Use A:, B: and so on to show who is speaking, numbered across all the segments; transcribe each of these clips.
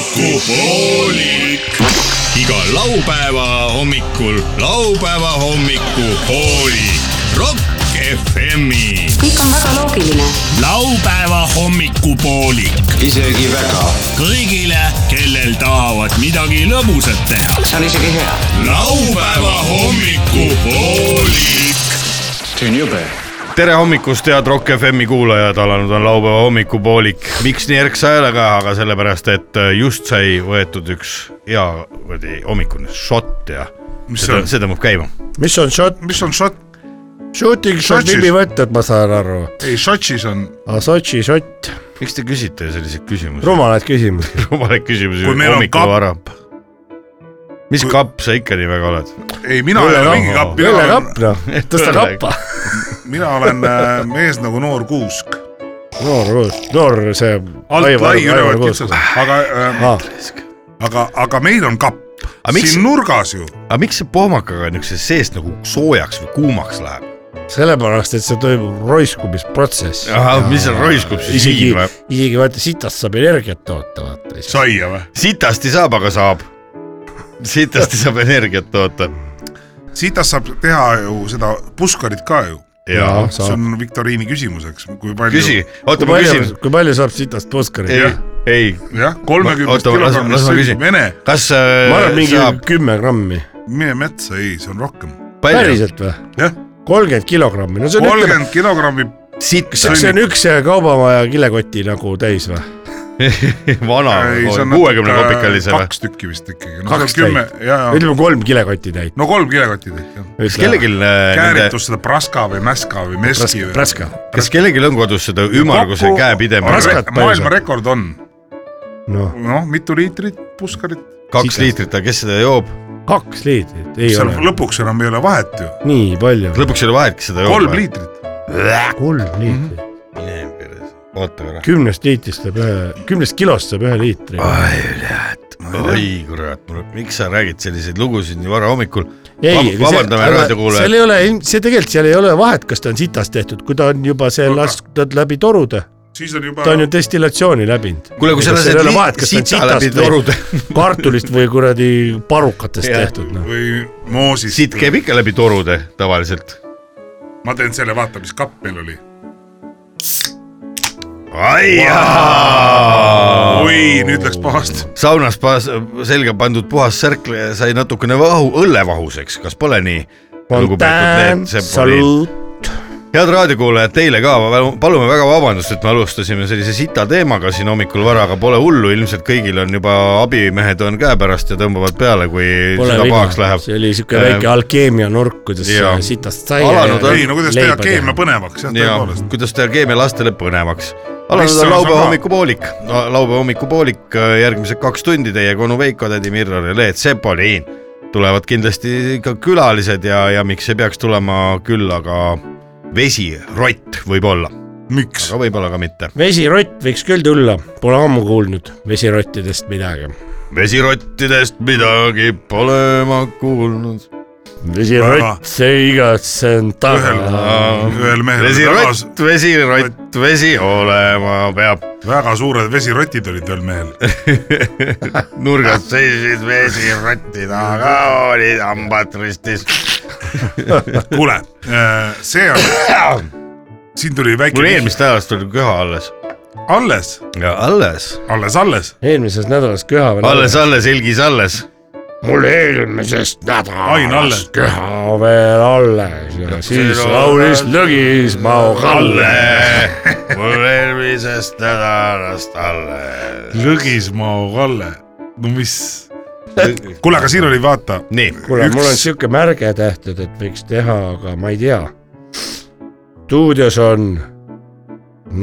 A: hommikuhoolik . iga laupäeva hommikul laupäeva hommikuhoolik . Rock FM-i .
B: kõik on väga loogiline .
A: laupäeva hommikupoolik .
C: isegi väga .
A: kõigile , kellel tahavad midagi lõbusat teha .
C: see on isegi hea .
A: laupäeva hommikupoolik .
C: see on jube .
D: tere hommikust , head Rock FM-i kuulajad , alanud on laupäeva hommikupoolik . miks nii ärksa häälega , aga sellepärast , et äh, just sai võetud üks hea kuradi hommikune šott ja
E: Mis see
D: see,
E: on?
D: see tõmbab käima .
F: mis on shot ,
E: mis on šot ,
F: shooting shot
E: Sotšis.
F: nimi-võtted , ma saan aru .
E: ei Sotšis on ,
F: aga Sotši shot ,
D: miks te küsite selliseid küsimusi ?
F: rumalad küsimused .
D: rumalaid küsimusi
E: Kui meil on kapp-
D: hommikuvara . mis kui... kapp sa ikka nii väga oled ?
E: ei mina ei ole mingi kapp , mina olen ,
F: õllekapp noh , tõsta
D: Õllega-
F: kappa .
E: mina olen äh, mees nagu noor kuusk .
F: noor Ruus , noor see .
E: alt lai , ülevalt kitsas , aga äh, ,
F: Ah,
E: aga , aga meil on kapp
D: Aga . miks-
E: siin nurgas ju ,
D: aga miks see pohmakaga niisuguse seest nagu soojaks või kuumaks läheb ?
F: sellepärast , et see toimub roiskumisprotsess .
D: mis seal roiskub siis
F: isegi
D: viin või ?,
F: isegi vaata sitast saab energiat toota , vaata .
E: saia või ?
D: sitast ei saab , aga saab . sitast ei saab energiat toota .
E: sitast saab teha ju seda puskarit ka ju ,
D: jaa
E: see
F: saab .
E: on viktoriini küsimus , eks , kui palju .
D: küsi , oota
F: kui
D: ma
F: palju
D: küsin ,,
F: kui palju saab sitast puskarit ?
D: ei , ei ,
E: jah ,
D: Ma-
E: kolmekümnest
D: oota, las- las
E: kilogrammist
D: ma
E: sõltub
D: küsin.
E: vene ,
D: kas
F: ma arvan ,
D: äh,
F: mingi
D: saab
F: kümme grammi .
E: mine metsa , ei , see on rohkem .
D: palju ,
F: päriselt või ?
E: jah ,
F: kolmkümmend kilogrammi , no see on ütleme ,
E: kolmkümmend kilogrammi
D: sitt
F: kas see on üks äh, kaubamaja kilekoti nagu täis või ?
D: vana
E: ei , see , on
D: kuuekümne
E: natuke-
D: kopikalise või ?
E: kaks tükki vist ikkagi .
F: Kaks
E: täit . ja , ja ,
F: ütleme kolm kilekotti täit .
E: no kolm kilekotti täit jah .
D: kas kellelgi äh, nende ,
E: kääritus seda praska või mäska või meski
F: Praska ,
E: või .
F: praska ,
D: kas kellelgi on kodus seda ümmarguse
E: Kokku-
D: käepidema
F: Raskat palju
E: maailma
F: saab?
E: rekord on ,
F: noh ,
E: noh , mitu liitrit puskarit ,
D: kaks liitrit , aga kes seda joob ?
F: kaks liitrit , ei
E: seal
F: ole ,
E: lõpuks enam ei ole vahet ju ,
F: nii palju ,
D: lõpuks ei ole vahet , kes seda joob .
E: kolm . liitrit .
F: kolm
D: Mhm.
F: liitrit ,
D: oota korra .
F: kümnest liitrist saab ühe , kümnest kilost saab ühe liitri .
D: oi , kurat , oi kurat , miks sa räägid selliseid lugusid nii vara hommikul ?
F: ei ,
D: vabandame
F: seal
D: raadiokuulajad .
F: ei ole , see tegelikult seal ei ole vahet , kas ta on sitast tehtud , kui ta on juba see lastud läbi torude ,
E: siis on juba
F: ta on ju destillatsiooni läbinud .
D: Kuule, kui sa lased
F: ei ole
D: li-
F: vahet , kas ta on
D: sita läbi
F: sitast
D: torude.
F: või kartulist või kuradi parukatest
D: Jah.
F: tehtud , noh .
E: või moosist .
D: sitt käib ikka läbi torude tavaliselt .
E: ma teen selle , vaata , mis kapp meil oli .
D: ai jaa .
E: oi , nüüd läks pahasti .
D: saunas paas, selga pandud puhas särk sai natukene vahu , õllevahuseks , kas pole nii ? lugupeetud Leet Sepolin .
F: saluut ,
D: head raadiokuulajad , teile ka , palume väga vabandust , et me alustasime sellise sita teemaga siin hommikul vara , aga pole hullu , ilmselt kõigil on juba abimehed on käepärast ja tõmbavad peale , kui
F: pole
D: süda
F: viga
D: pahaks , läheb .
F: see oli siuke väike alkeemia nurk , kuidas
D: jaa.
F: sitast sai .
D: Alanud on-
E: ei no kuidas teha keemia põnevaks , jah ,
D: ja
E: tõepoolest .
D: kuidas teha keemia lastele põnevaks . alanud
E: Mis on
D: on laupäeva
E: sama?
D: hommikupoolik , laupäeva hommikupoolik , järgmised kaks tundi teiega onu Veiko , tädi Mirror ja Leet Sepolin . tulevad kindlasti ka külalised ja , ja miks ei peaks tulema küll , aga vesirott võib-olla ,
E: miks ?
D: aga võib-olla ka mitte .
F: vesirott võiks küll tulla , pole ammu kuulnud vesirottidest midagi .
D: vesirottidest midagi pole ma kuulnud .
E: Väga.
F: vesirott , see igatsen taga .
E: ühel , ühel mehel oli väga ,
D: vesirott , vesirott , vesi olema peab ,
E: väga suured vesirotid olid ühel mehel .
D: nurgas seisid vesirotti taga , olid hambad ristis
E: kuule , see on , siin tuli väike
D: mul . eelmist nädalast oli köha alles .
E: alles ,
D: alles ?
E: alles , alles .
F: eelmises nädalas köha veel .
D: alles , alles , ilgis alles .
F: mul eelmisest
E: Ain alles.
F: nädalast köha veel alles ja siis
D: See on-
F: laulis lõgis Mao Kalle .
D: mul eelmisest nädalast alles .
E: Lõgismaa Kalle , no mis ? kuule , aga siin oli vaata ,
D: nii ,
F: kuule , mul on
E: Üks-
F: siuke märge tehtud , et võiks teha , aga ma ei tea . stuudios on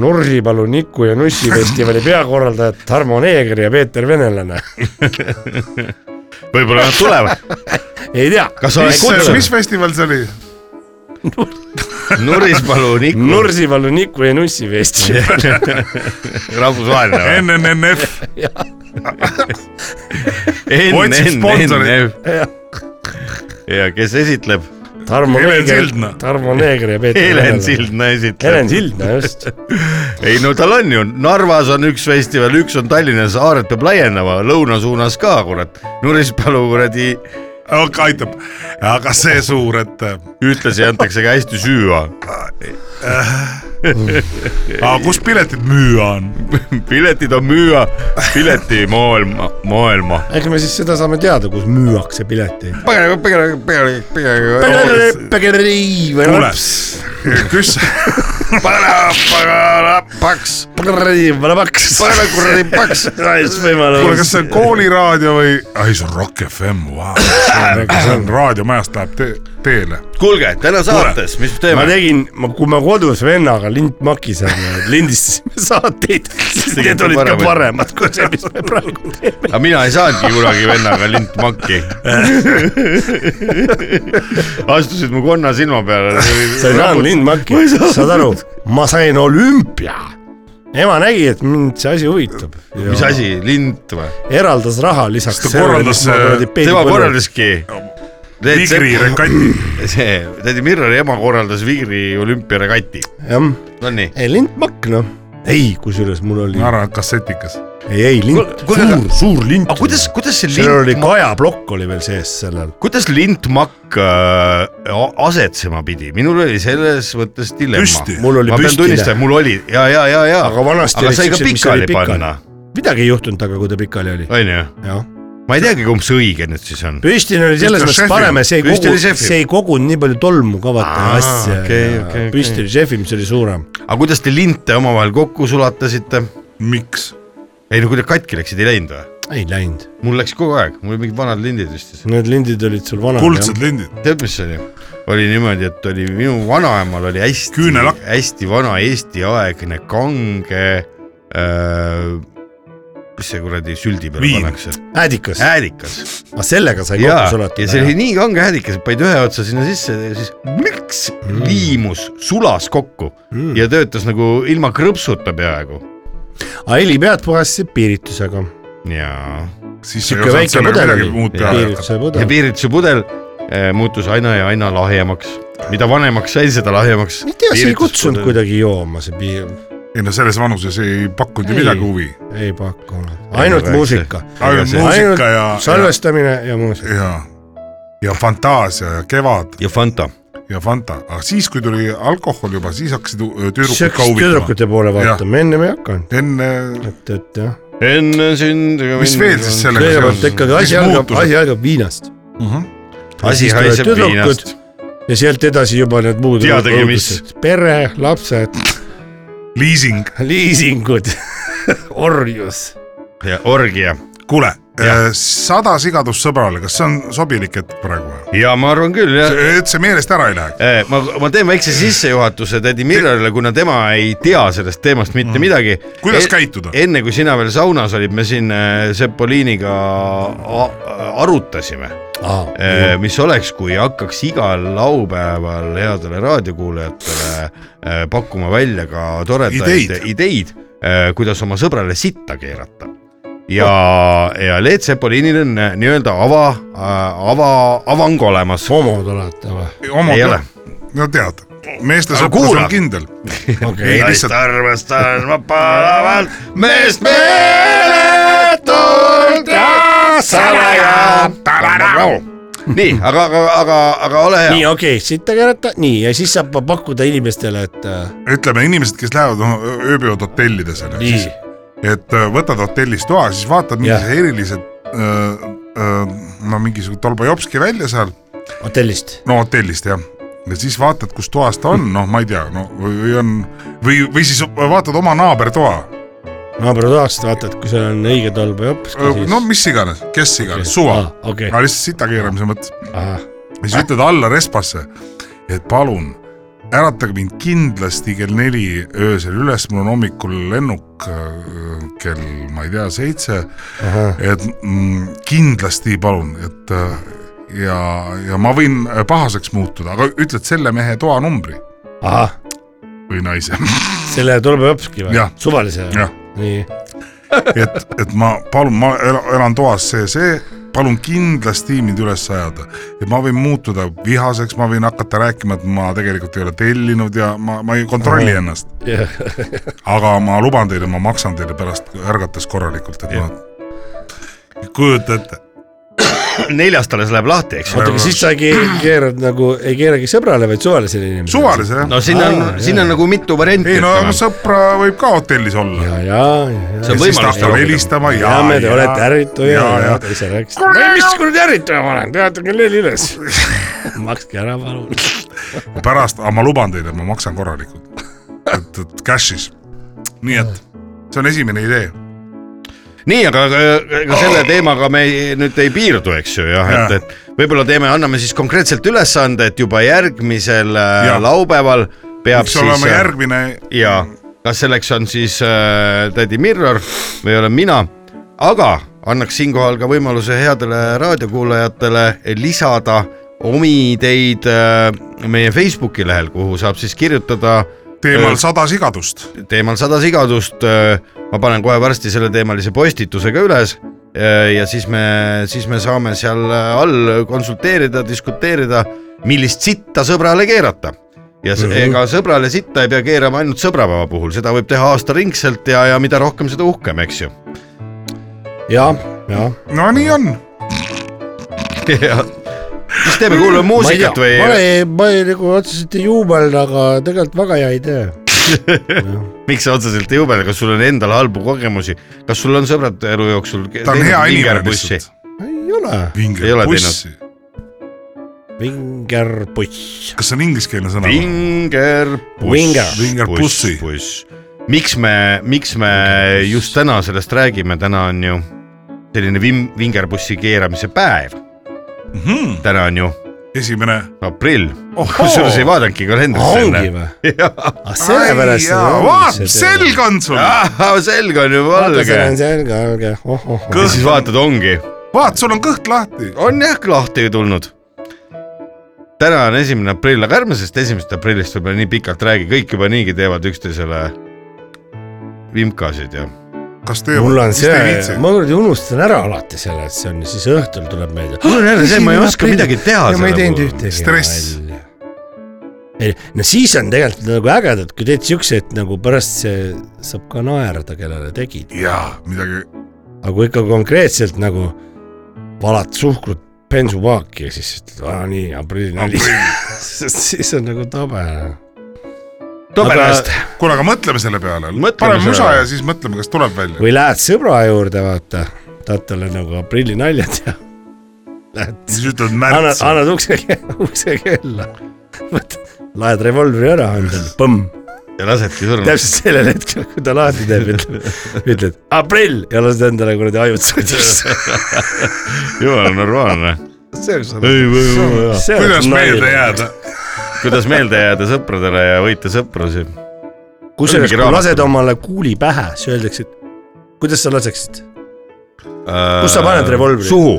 F: Nursipalu Niku ja Nussi festivali peakorraldajad Tarmo Neeger ja Peeter Venelane .
D: võib-olla nad tulevad .
F: ei tea ,
D: kas sa oled
E: mis
D: kutsunud ?
E: festival see oli ?
D: Nurispalu Niku ,
F: Nursipalu Niku ja Nussi festival ,
D: rahvusvaheline või ?
E: NNNF ,
D: N ,
E: Otsib
D: N , N ,
E: sponsorit.
D: N . ja kes esitleb ?
F: Tarmo
E: Helen
F: Neeger
E: Sildna. ,
F: Tarmo Neeger ja Peeter
D: Helen . Sildna
F: Helen
D: esitleb .
F: Sildna , just .
D: ei no tal on ju , Narvas on üks festival , üks on Tallinnas , Aaret peab laienema , lõuna suunas ka kurat . Nurispalu kuradi
E: aga aitab , aga see suur , et äh,
D: ühtlasi antakse ka hästi süüa .
E: aga kus piletid müüa on ?
D: piletid on müüa , piletimool , maailma .
F: eks me siis seda saame teada , kus müüakse pileteid .
D: põgene , põgene , põgene , põgene .
F: Pegeri või
E: kuule
F: laps ,,
E: küs- ,
D: paks ,
F: Pegeri või laps .
D: pane kuradi paks .
E: kuule , kas
F: võimalus .
E: see on kooliraadio või ? ei , see on Rock FM , vau . see on raadiomajast läheb tee , teele .
D: kuulge , täna saates , mis
F: ma
D: teeme ?
F: tegin , kui ma kodus vennaga lindmakis olin , lindistasime saateid , siis
D: Tegite
F: need olid ka
D: paremini.
F: paremad kui see , mis me praegu teeme .
D: aga mina ei saanudki kunagi vennaga lintmakki . astusid mu konna silma peale .
F: sa ei saanud lindmakki , saad aru , ma sain olümpia . ema nägi , et mind see asi huvitab .
D: mis ? asi , lint või ?
F: eraldas raha lisaks .
E: ta korraldas, äh,
D: tema . korraldaski .
E: Vigri rekati .
D: see , tädi Mirrori ema korraldas Vigri olümpiaregati .
F: jah ,
D: Nonii .
F: ei lindmakk noh . ei , kusjuures mul oli
E: ma , arvan , et kassetikas .
F: ei , ei lint ,
D: Kuule, kuule,
F: suur , suur lint .
D: aga kuidas , kuidas see
F: seal oli
D: lintmakk ,
F: kajaplokk oli veel sees sellel .
D: kuidas lintmakk äh, a- asetsema pidi , minul oli selles mõttes dilemma
E: Püsti. .
F: Mul oli
D: ma pean
F: püstine.
D: tunnistama , mul oli ja , ja , ja , ja .
F: Aga vanasti
D: aga
F: olid
D: sai ka
F: siuksed, mis
D: pikali
F: oli pikali.
D: panna ,
F: midagi ei juhtunud taga , kui ta pikali oli .
D: onju .
F: jah .
D: ma ei teagi , kumb see õige nüüd siis on .
F: püstine oli selles
E: Püstine
F: mõttes
E: šefil.
F: parem , et see ei
D: Püstine
F: kogunud ,
D: šefil.
F: see ei kogunud nii palju tolmu ka vaata ja
D: Aa,
F: asja
D: okei,
F: ja
D: okei, okei.
F: püstine šefil , mis oli suurem .
D: aga kuidas te linte omavahel kokku sulatasite ?
E: miks ?
D: ei no kui te katki läksid , ei läinud või ?
F: ei läinud ,
D: mul läks kogu aeg , mul olid mingid vanad lindid vist .
F: need lindid olid sul vanad .
E: kuldsed lindid .
D: tead , mis see oli ? oli niimoodi , et oli minu vanaemal oli hästi
E: Küünelakk. ,
D: hästi vana Eesti-aegne kange äh, . mis see kuradi süldi peale
E: Viin.
D: pannakse ?
F: äädikas ,
D: häädikas .
F: aga sellega sai
D: ja
F: kokku ,
D: ja see oli
F: sulatud .
D: nii kange häädikas , et panid ühe otsa sinna sisse ja siis miks mm. liimus , sulas kokku mm. ja töötas nagu ilma krõpsuta peaaegu .
F: aga heli pead puhastasid piiritusega .
D: jaa .
E: siis sa ei
F: sihuke
E: osanud
F: väike
E: sellega
F: pudel
E: midagi
F: oli ,
E: muud peale hakata .
F: piirituse
D: ja
F: pudel .
D: piirituse pudel eh, muutus aina ja aina lahjemaks . mida vanemaks sai , seda lahjemaks .
F: ei tea , see ei kutsunud . kuidagi jooma , see piir ,
E: ei no selles vanuses ei pakkunud ju
F: Ei.
E: midagi huvi .
F: ei pakkunud , ainult
D: väikse.
F: muusika ,
E: ainult
D: see-
E: muusika ja ,
F: salvestamine ja muusika .
E: ja , ja fantaasia ja kevad
D: ja Fanta .
E: ja Fanta , aga siis , kui tuli alkohol juba , siis hakkasid u-
F: siis
E: tüdrukud ka
F: hakkas
E: huvitama .
F: tüdrukute poole vaatama , ennem ei hakanud ,
E: enne ,
F: et , et jah .
D: enne sündi .
E: mis veel siis sellega
F: kõigepealt ikkagi asi algab , asi algab viinast .
D: asi
F: siis tulevad
D: haiseb
F: tüdrukud.
D: viinast .
F: ja sealt edasi juba need muud
D: Teadagi,
F: õudused. pere , lapsed ,
E: liising ,
F: liisingud , orjus .
D: ja orgia .
E: kuule , sada sigadust sõbrale , kas see on sobilik hetk praegu või ?
D: ja ma arvan küll jah .
E: et see Äh. meelest ära ei lähe .
D: ma , ma teen väikse sissejuhatuse tädi Mirrorile , kuna tema ei tea sellest teemast mitte midagi .
E: Mm. Kuidas käituda?
D: enne kui sina veel saunas olid , me siin eh, Sepoliniga a- arutasime , Äh, mis oleks , kui hakkaks igal laupäeval headele raadiokuulajatele eh, pakkuma välja ka toredaid
E: Ideid.
D: ideid , kuidas oma sõbrale sitta keerata ja , ja Leet Sepolinil on eh, nii-öelda ava , ava , avang olemas .
F: homod olete või ?
E: oma
D: Ei ole. ,
E: no tead , meeste
D: Aga
E: sõprus
D: kuula.
E: on kindel .
F: okei ,
E: Ei,
D: naist
E: lihtsalt-
D: armastan ma palavalt , meest meeletult ja salaja . nii , aga , aga , aga , aga ole hea .
F: nii okei , sitta keerata , nii ja siis saab pakkuda inimestele , et äh,
E: ütleme inimesed , kes lähevad , noh, ööbivad hotellides ,
F: nii ,
E: et äh, võtad hotellis toa , siis vaatad
F: Jah.
E: mingisugused erilised , no mingisugune tolbajopski välja seal
F: hotellist .
E: no hotellist jah , ja siis vaatad , kus toas ta on , noh , ma ei tea , no või, või on või , või siis vaatad oma naabertoa ,
F: naabritoast vaatad , kui seal on õige tolm või hops .
E: Äh, no mis iganes , kes iganes , suva
F: Aa, , okei.
E: aga lihtsalt sita keeramise mõttes .
F: ahah ,
E: ja siis ütled alla respasse , et palun , äratage mind kindlasti kell neli öösel üles , mul on hommikul lennuk äh, kell , ma ei tea , seitse , et mm, kindlasti palun , et äh, ja , ja ma võin pahaseks muutuda , aga ütled selle mehe toanumbri
F: ahah ,
E: või naise
F: selle tolm või hopski või
E: Jah. ?
F: suvalise
E: Jah.
F: või ? nii ,
E: et , et ma palun , ma ela- elan toas see , see palun kindlasti mind üles ajada , et ma võin muutuda vihaseks , ma võin hakata rääkima , et ma tegelikult ei ole tellinud ja ma , ma ei kontrolli ennast . aga ma luban teile , ma maksan teile pärast ärgates korralikult , et ma , kujuta ette ,
D: neljast alles läheb lahti , eks ju .
F: oota , aga siis sa ei keer- keerad nagu , ei keeragi sõbrale , vaid suvalisele inimesele .
E: suvalise jah no.
D: no siin on , siin on nagu mitu varianti
E: ei . no sõpra võib ka hotellis olla .
F: ja , ja ,
D: See on
E: ja
F: ja .
E: siis ta
D: võimalus
E: hakkab
D: rohkem.
E: helistama ja ,
F: teame , nagu, te olete ärrituja ja,
E: ja ,
F: ja
E: ja
F: te ise rääkisite . mis kuradi ärrituja ma olen , peate kell neli üles . makske ära , palun .
E: pärast , aga ma luban teile , ma maksan korralikult . et , et cash'is . nii et see on esimene idee .
D: nii , aga aga- aga selle teemaga me ei, nüüd ei piirdu , eks ju jah ,
E: Jaa.
D: et , et võib-olla teeme , anname siis konkreetselt ülesande , et juba järgmisel äh,
E: Jah.
D: laupäeval peab
E: peaks
D: siis äh,
E: olema . järgmine
D: ja kas selleks on siis äh, tädi Mirror või olen mina , aga annaks siinkohal ka võimaluse headele raadiokuulajatele lisada omi ideid äh, meie Facebooki lehel , kuhu saab siis kirjutada Äh,
E: teemal sada sigadust .
D: teemal sada sigadust . ma panen kohe varsti selleteemalise postituse ka üles eh, ja siis me , siis me saame seal äh, all konsulteerida , diskuteerida , millist sitta sõbrale keerata . ja s-
E: Mhm.
D: ega sõbrale sitta ei pea keerama ainult sõbrapäeva puhul , seda võib teha aastaringselt ja , ja mida rohkem , seda uhkem , eks ju .
F: ja , ja .
E: no nii on .
D: siis teeme , kuulame muusikat või ?
F: ma ei , ma ei nagu otseselt ei juumelda , aga tegelikult väga hea idee .
D: miks sa otseselt ei jubeda , kas sul on endal halbu kogemusi , kas sul on sõbrad elu jooksul ?
E: ta on hea inimene lihtsalt .
F: ei ole .
D: Ei ole
E: vingerbuss .
F: vingerpuss .
E: kas see on ingliskeelne sõna ?
D: Vinger ,
F: Winger.
E: Winger pussi.
D: buss . miks me , miks me just täna sellest räägime , täna on ju selline vim- , vingerpussi keeramise päev ,
F: Mhm.
D: täna on ju
E: esimene .
D: aprill . kusjuures ei vaadanudki kalendrisse
F: ongi
D: enne .
F: või ? ah sellepärast .
E: vaat , selg on sul .
D: selg on ju
F: valge .
D: valge .
F: selge , valge , Oh, oh-oh .
D: ja siis vaatad , ongi ,
E: vaat , sul on kõht lahti .
D: on jah lahti tulnud täna on esimene aprill , aga ärme sellest esimesest aprillist võib-olla nii pikalt räägi , kõik juba niigi teevad üksteisele vimkasid ja
E: kas teie ?
F: mul on see , ma kuradi unustan ära alati selle , et see on ja siis õhtul tuleb meelde .
D: Mul on jälle see, ma ei oska midagi teha
F: ja ma ei
D: selle
F: teinud
D: puhul.
F: ühtegi .
E: Stress. .
F: ei , no siis on tegelikult nagu ägedad , kui teed siukseid nagu pärast see saab ka naerda , kellele tegid ,
E: jaa , midagi .
F: aga kui ikka konkreetselt nagu valad suhkrut bensupaaki ja siis ütled , aa nii , aprillinali , siis on nagu tabe .
D: tobedast .
E: kuule , aga mõtleme selle peale .
D: Mõtleme
E: paneme
D: selle
E: musa
D: peale.
E: ja siis mõtleme , kas tuleb välja .
F: või lähed sõbra juurde , vaata , tahad talle nagu aprillinaljad ja lähed
E: siis ütled
F: annad ,
E: märts .
F: annad ukse , ukse kella , laed revolvri ära , ütled põmm ,
D: ja lasedki surma .
F: täpselt sellel hetkel , kui ta lahti teeb , ütleb , ütled aprill ja lased endale kuradi ajud sudisse .
D: jumala normaalne .
F: see oleks
D: ei või , või , või .
F: olnud .
E: kuidas meelde ? jääda ?
D: kuidas meelde jääda sõpradele ja võita sõprusi ?
F: kusjuures ,
D: Mingi
F: kui
D: raamat
F: lased
D: on.
F: omale kuuli pähe , siis öeldakse , et kuidas sa laseksid , kus sa paned revolvri ?
D: suhu .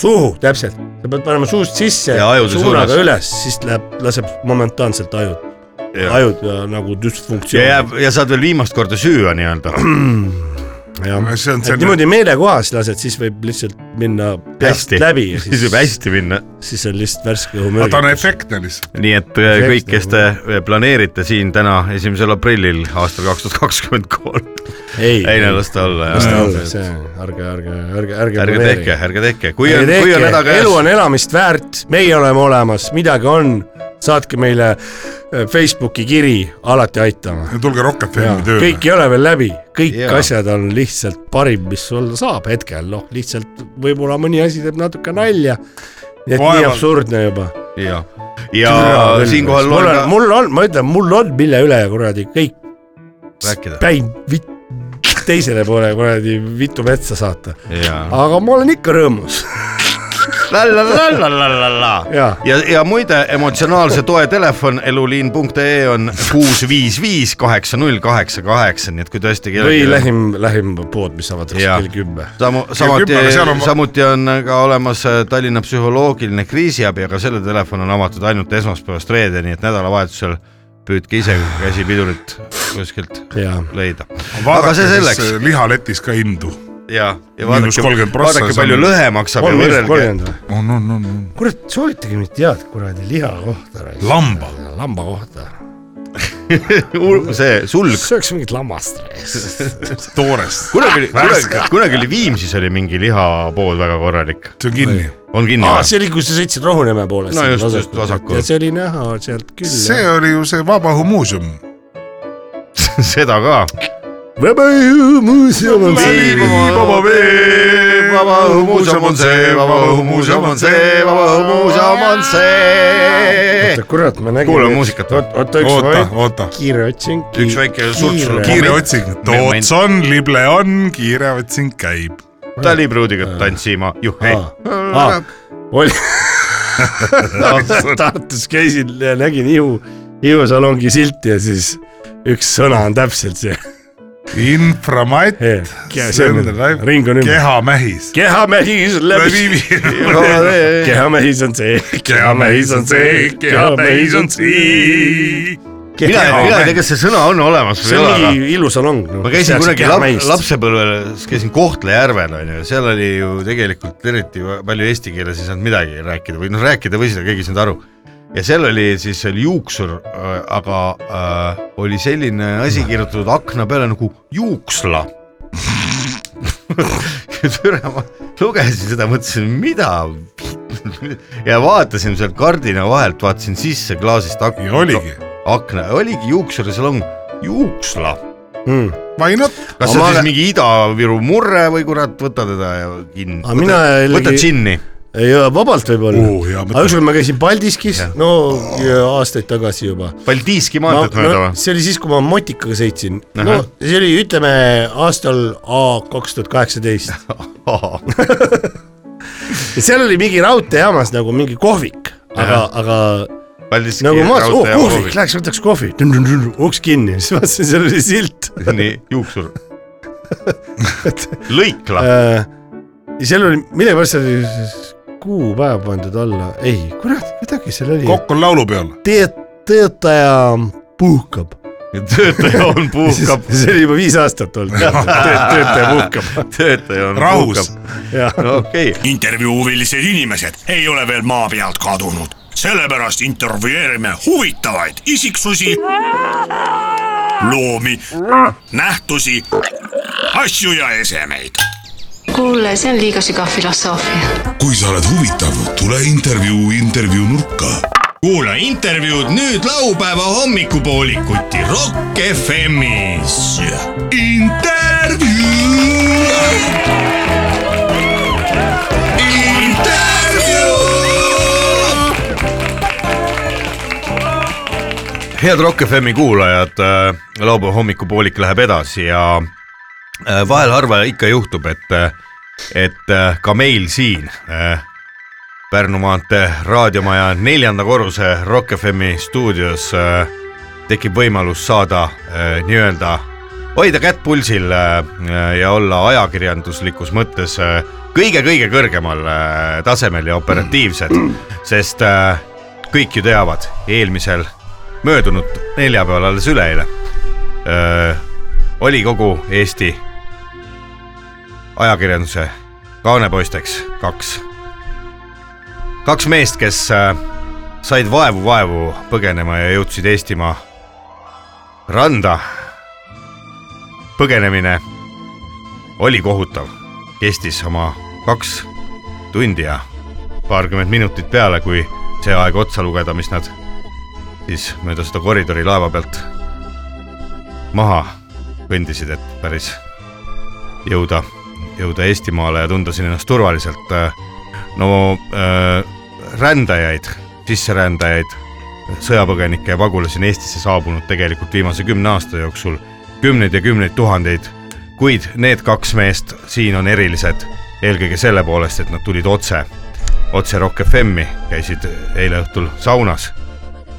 F: suhu , täpselt , sa pead panema suust sisse
D: Ja ajude
F: suunaga
D: suunas.
F: üles , siis läheb , laseb momentaanselt ajud ,
D: ja
F: ajud äh, nagu
D: ja
F: düsfunktsioon .
D: jääb ja saad veel viimast korda süüa nii-öelda .
F: jah ,
E: see on
F: et
E: selline
F: niimoodi meelekohas lased , siis võib lihtsalt minna peast
D: hästi
F: läbi ja ,
D: siis võib
F: siis ,
D: hästi minna .
F: siis on lihtsalt värske õhu
E: aga ta on
F: mürgitus .
E: efektne lihtsalt .
D: nii et äh, kõik , kes te planeerite siin täna , esimesel aprillil aastal kaks tuhat kakskümmend kolm ,
F: ei ,
D: ei no las ta olla
F: las ta
D: jah .
F: olla , see , ärge , ärge , ärge , ärge
D: ärge tehke , ärge tehke , kui on , kui on
F: ärge
D: häda
F: tehke , elu
D: käes ,
F: on elamist väärt , meie oleme olemas , midagi on , saatke meile äh, Facebooki kiri , alati aitame .
E: tulge Rock
F: Jaa,
E: FM-i tööle .
F: kõik ei ole veel läbi , kõik ja.
D: Jaa.
F: asjad on lihtsalt parim , mis olla saab hetkel , noh , lihtsalt võib-olla mõni asi teeb natuke nalja . nii et nii
E: Vaevalt.
F: absurdne juba .
D: ja , ja siinkohal
F: mul
D: on
F: on ,
D: ka
F: mul on , ma ütlen , mul on , mille üle kuradi kõik
D: rääkida .
F: päin vit- teisele poole kuradi vitu metsa saata ,
D: jaa
F: aga ma olen ikka rõõmus
D: la-la-la-la-la-la-la .
F: ja
D: ja , ja muide emotsionaalse toe telefon eluliin.ee on kuus viis viis kaheksa null kaheksa kaheksa , nii et kui tõesti
F: või lähim , lähim pood , mis avatakse
D: Jaa.
F: kell kümme .
D: samu- , samuti
E: kümme, aga seal , on-
D: samuti on ka olemas äh, Tallinna psühholoogiline kriisiabi , aga selle telefon on avatud ainult esmaspäevast reedeni , et nädalavahetusel püüdke ise käsipidurit kuskilt
F: ja
D: leida . aga see
E: vaadake
D: selleks
E: siis , lihaletis ka indu .
D: ja , ja
E: Miinus
D: vaadake
E: 30%, ,
D: vaadake
E: see on-
D: palju lõhe maksab ja
F: on miinus
D: võrrelge .
F: kolmkümmend või ?
E: on , on , on , on .
F: kurat , soovitage mind tead kuradi liha kohta .
E: Lamba. .
F: lamba kohta .
D: see sulg ,
F: sööks mingit lammast .
E: toorest ,
D: kunagi oli , kunagi
E: Värske. ,
D: kunagi oli Viimsis oli mingi lihapood väga korralik ,
E: see on kinni .
D: on kinni
F: aa ,
D: või ?
F: see oli , kus sa sõitsid Rohuneeme poole .
D: No just, just vasakul.
F: ja see oli näha sealt küll .
E: see oli ju see Vabaõhumuuseum .
D: seda ka .
F: Vabaõhumuuseum on siin .
D: vaba vee , vaba õhumuuseum on see , vaba õhumuuseum on see , vaba õhumuuseum on see .
F: oota , kurat , ma nägin .
D: Kuulame muusikat.
F: oota , oota , üks
E: oota ,
F: moment ,
E: oota ,
F: kiire otsing .
D: Üks väike surtsu-
E: kiire otsing , toots on , lible on , kiire otsing käib .
D: talipruudiga tantsima , juhhei .
F: Ah. oli Tartus käisin ja nägin Ihu , Ihu salongi silti ja siis üks sõna on täpselt see .
E: inframatt ,
F: see on ring on ümber .
E: kehamähis .
F: kehamehis läbi , kehamehis on see , kehamehis on see , kehamehis on see .
D: mina , mina ei tea , kas see sõna on olemas või
F: see
D: ei ole , aga
F: ongi ilusalong no. .
D: ma käisin kunagi lap- , lapsepõlvel , käisin Kohtla-Järvel onju , seal oli ju tegelikult eriti va- palju eesti keeles ei saanud midagi rääkida või noh , rääkida võisid , aga keegi ei saanud aru . ja seal oli siis , oli juuksur , aga äh, oli selline asi kirjutatud akna peale nagu juuksla . türa , ma lugesin seda , mõtlesin , mida ja vaatasin sealt kardina vahelt , vaatasin sisse klaasist akna
E: ja . oligi ,
D: akna , oligi juuksurisalong , juuksla
F: mm. .
E: why not ?
D: kas see on
F: Aga ma
D: siis
F: olen-
D: mingi Ida-Viru murre või kurat , võta teda ja kinni .
F: Aga mina jällegi-
D: võta džinni .
F: ei , vabalt võib-olla
E: Oo, hea mõte.
F: aga ükskord ma käisin Paldiskis , no ja aastaid tagasi juba .
D: Baltiiski
F: Ma,
D: maanteed mööda
F: no,
D: või ?
F: see oli siis , kui ma motikaga sõitsin , no
D: Ahah.
F: see oli , ütleme aastal A kaks tuhat kaheksateist ja seal oli mingi raudteejaamas nagu mingi kohvik , aga , aga
D: Paldiski
F: nagu ma vaatasin , oo
D: oh,
F: kohvik ,
D: raudteejaam .
F: läheks võtaks kohvi , uks kinni , siis vaatasin , seal oli silt
D: nii , juuksur . lõikla ,
F: Äh, ja seal oli , millegipärast seal oli siis kuupäev pandud alla , ei kurat , midagi seal oli ,
E: kokk on laulupeol .
F: Teet- , töötaja puhkab .
D: töötaja on puhkab ,
F: see oli juba viis aastat olnud , töötaja puhkab ,
D: töötaja on
E: Rahus.
D: puhkab .
F: jah .
D: no okei okay. ,
A: intervjuuvilised inimesed ei ole veel maa pealt kadunud , sellepärast intervjueerime huvitavaid isiksusi , loomi , nähtusi , asju ja esemeid .
B: kuule , see on liiga sügav filosoofia .
G: kui sa oled huvitav , tule intervjuu intervjuu nurka
A: kuula intervjuud nüüd laupäeva hommikupoolikuti Rock FM-is . intervjuu .
D: head Rock FM-i kuulajad , laupäeva hommikupoolik läheb edasi ja äh, vahel harva ikka juhtub , et , et äh, ka meil siin äh, Pärnu maantee raadiomaja neljanda korruse Rock FM-i stuudios äh, tekib võimalus saada äh, nii-öelda , hoida kätt pulsil äh, ja olla ajakirjanduslikus mõttes äh, kõige-kõige kõrgemal äh, tasemel ja operatiivsed , sest äh, kõik ju teavad , eelmisel möödunud neljapäeval alles üleeile äh, oli kogu Eesti ajakirjanduse kaanepoisteks kaks kaks meest , kes äh, said vaevu-vaevu põgenema ja jõudsid Eestimaa randa . põgenemine oli kohutav , kestis oma kaks tundi ja paarkümmend minutit peale , kui see aeg otsa lugeda , mis nad siis mööda seda koridori laeva pealt maha kõndisid , et päris jõuda , jõuda Eestimaale ja tunda siin ennast turvaliselt äh, no äh, rändajaid , sisserändajaid , sõjapõgenikke ja pagulasi on Eestisse saabunud tegelikult viimase kümne aasta jooksul kümneid ja kümneid tuhandeid , kuid need kaks meest siin on erilised eelkõige selle poolest , et nad tulid otse , otse Rock FM-i , käisid eile õhtul saunas ,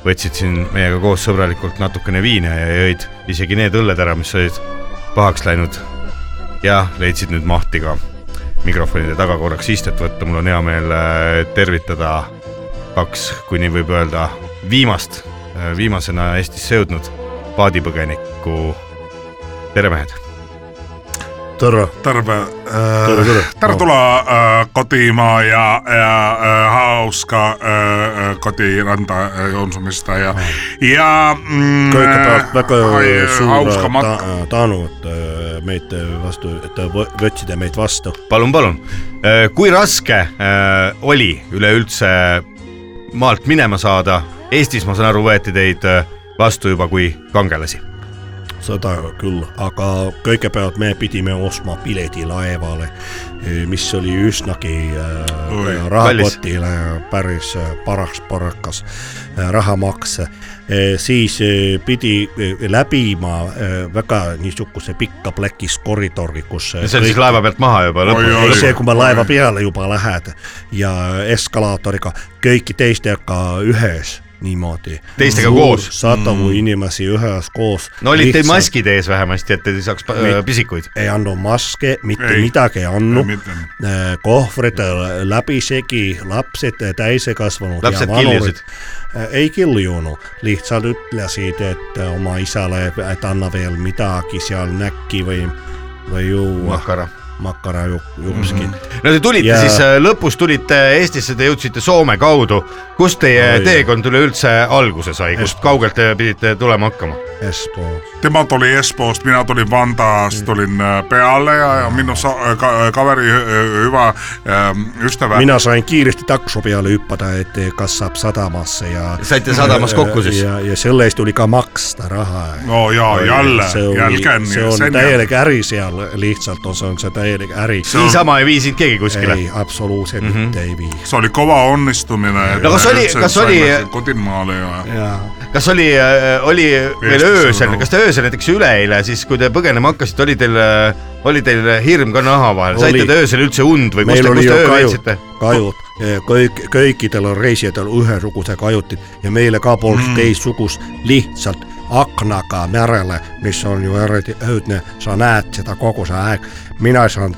D: võtsid siin meiega koos sõbralikult natukene viina ja jõid isegi need õlled ära , mis olid pahaks läinud ja leidsid nüüd mahti ka mikrofonide taga korraks istet võtta , mul on hea meel äh, tervitada kaks , kui nii võib öelda , viimast , viimasena Eestisse jõudnud paadipõgenikku . tere mehed ,
F: Tarro ,
E: terve äh, ,
F: Terve tule.
E: tervetuloa äh, kotimaa ja, ja äh, hauska äh, äh, kotiranta äh, Jonsumista ja , ja mm,
F: kõik
D: Äh,
F: peavad väga
E: ai- äh,
F: suure
E: hauska matka .
F: ta- tänu , et äh, meid äh, vastu , et te võ- võtsite meid vastu .
D: palun , palun . kui raske äh, oli üleüldse maalt minema saada , Eestis ma saan aru , võeti teid äh, vastu juba kui kangelasi .
F: seda küll , aga kõigepealt me pidime ostma pileti laevale , mis oli üsnagi
E: Oi,
F: äh, rahakotile päris äh, paraks parakas äh, rahamaks . siis äh, pidi äh, läbima äh, väga niisuguse pikka plekis koridori , kus äh,
D: see oli siis
F: kõik-
D: laeva pealt maha juba lõpuks .
E: Oi,
F: ei
E: oi.
F: see , kui me laeva peale juba lähed ja eskalaatoriga kõiki teistega ühes niimoodi .
D: Teistega koos.
F: sadu mm. inimesi ühes koos .
D: no olid teil . maskid ees vähemasti , et te ei saaks äh, pisikuid .
F: ei andnud maske , mitte
E: Ei.
F: ei. midagi ei andnud .
E: Mitte.
F: kohvrid äh, läbisegi , lapsed , täisekasvanud .
D: Lapsed kiljusid. .
F: ei kiljunud , lihtsalt ütlesid , et äh, oma isale , et anna veel midagi seal näkki või , või juua .
D: makara .
F: makara ju- jupskit mm . -hmm
D: no te tulite ja...
F: Ja-
D: siis äh, lõpus tulite Eestisse , te jõudsite Soome kaudu . kust teie
F: Oi.
D: teekond üleüldse alguse sai , kust kaugelt te pidite tulema hakkama ?
F: Espoo .
E: Tema tuli Espoosta, minä tulin Vantaasta, tulin äh, pealle ja, ja minun sa, äh, ka, äh, kaveri hy- hy- hyvä ähm, ystävä.
F: Äh, minä sain kiireesti takso peale hyppätä ettei kassap satamassa ja...
D: Saitte sadamas kokku siis ?
F: Ja, ja sellaista tuli ka maksta rahaa.
E: No joo, jälle,
F: se on,
E: jälkeen niin
F: se on
E: sen jäl-
F: täielik äri siellä lihtsalt on, se on se täielik äri. Se
D: niisama ei viisinud keegi kuskile ?
F: Ei, absoluutisesti
E: Mhm.
F: mm-hmm. ei vii.
E: Se oli kova onnistuminen. että
D: kas oli-
E: itse
D: kas
E: sain
D: oli-
E: lähteä kotimaalle ja...
F: Ja.
D: kas oli , oli veel
E: Eestis
D: öösel
E: on ,
D: kas te öösel näiteks üleeile siis , kui te põgenema hakkasite , oli teil , oli teil äh, hirm ka naha vahel ,
F: Oli.
D: saite te öösel üldse und või kus
F: Meillä
D: te ,
F: oli
D: kus
F: jo
D: te öö
F: kajut,
D: veetsite ?
F: kajut. Eh, Kõik, kõikidel on reisijatel ühesuguse kajutin ja meillä ka polnud mm. teissugus lihtsalt aknaga merelle, mis on ju eriti õudne, sa näed seda kogu see aeg. Mina saan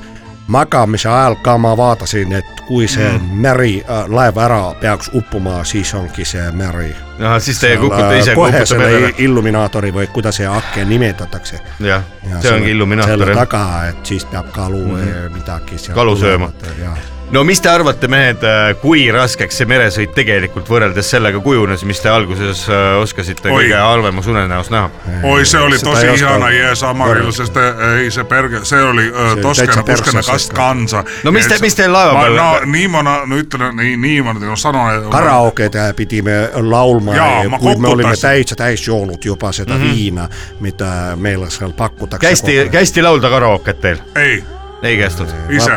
F: magamise ajal ka ma vaatasin, et kui see mm. meri äh, laev ära peaks uppuma, siis ongi see meri.
D: ahah , siis te kukute
F: Äh,
D: ise ,
F: kohe
D: kukute
F: selle
D: merele .
F: illuminaatori või kuidas see akke nimetatakse.
D: jah ,
F: Ja
D: see ongi
F: selle-
D: illuminaator
F: Selle
D: jah .
F: taga, et siis peab kalu
E: Mhm.
F: mm. midagi seal
D: Kalu sööma.
F: tulevat, jah.
D: no mis te arvate , mehed , kui raskeks see meresõit tegelikult võrreldes sellega kujunes , mis te alguses äh, oskasite
E: Oi.
D: kõige halvemas unenäos näha ?
E: Oi se oli
F: Sitä
E: tosi
F: ei
E: ihana
F: oskaan
E: jees Amarilla, se, sitä- ei se, perke, se oli
F: Se
E: ö,
F: täitsä
E: toskena puskena
F: perseestä.
E: kast kansa.
D: No mistä-
E: Et-
D: mistä laivan
E: Mä-
D: päälle-
E: No niin mona, nyt niin, niin mona, on sanonut, että-
F: karaoke tää pidimme laulmaa,
E: Jaa,
F: ja,
E: mä Mhm.
F: kun me olimme
E: kokutaisin.
F: täysissä täysjoulut jopa sitä mm-hmm. viinaa, mitä meillä siellä pakkutakse.
D: kästi , kästi laulda karaoket teil ?
E: Ei,
D: ei kästud ?
E: isä.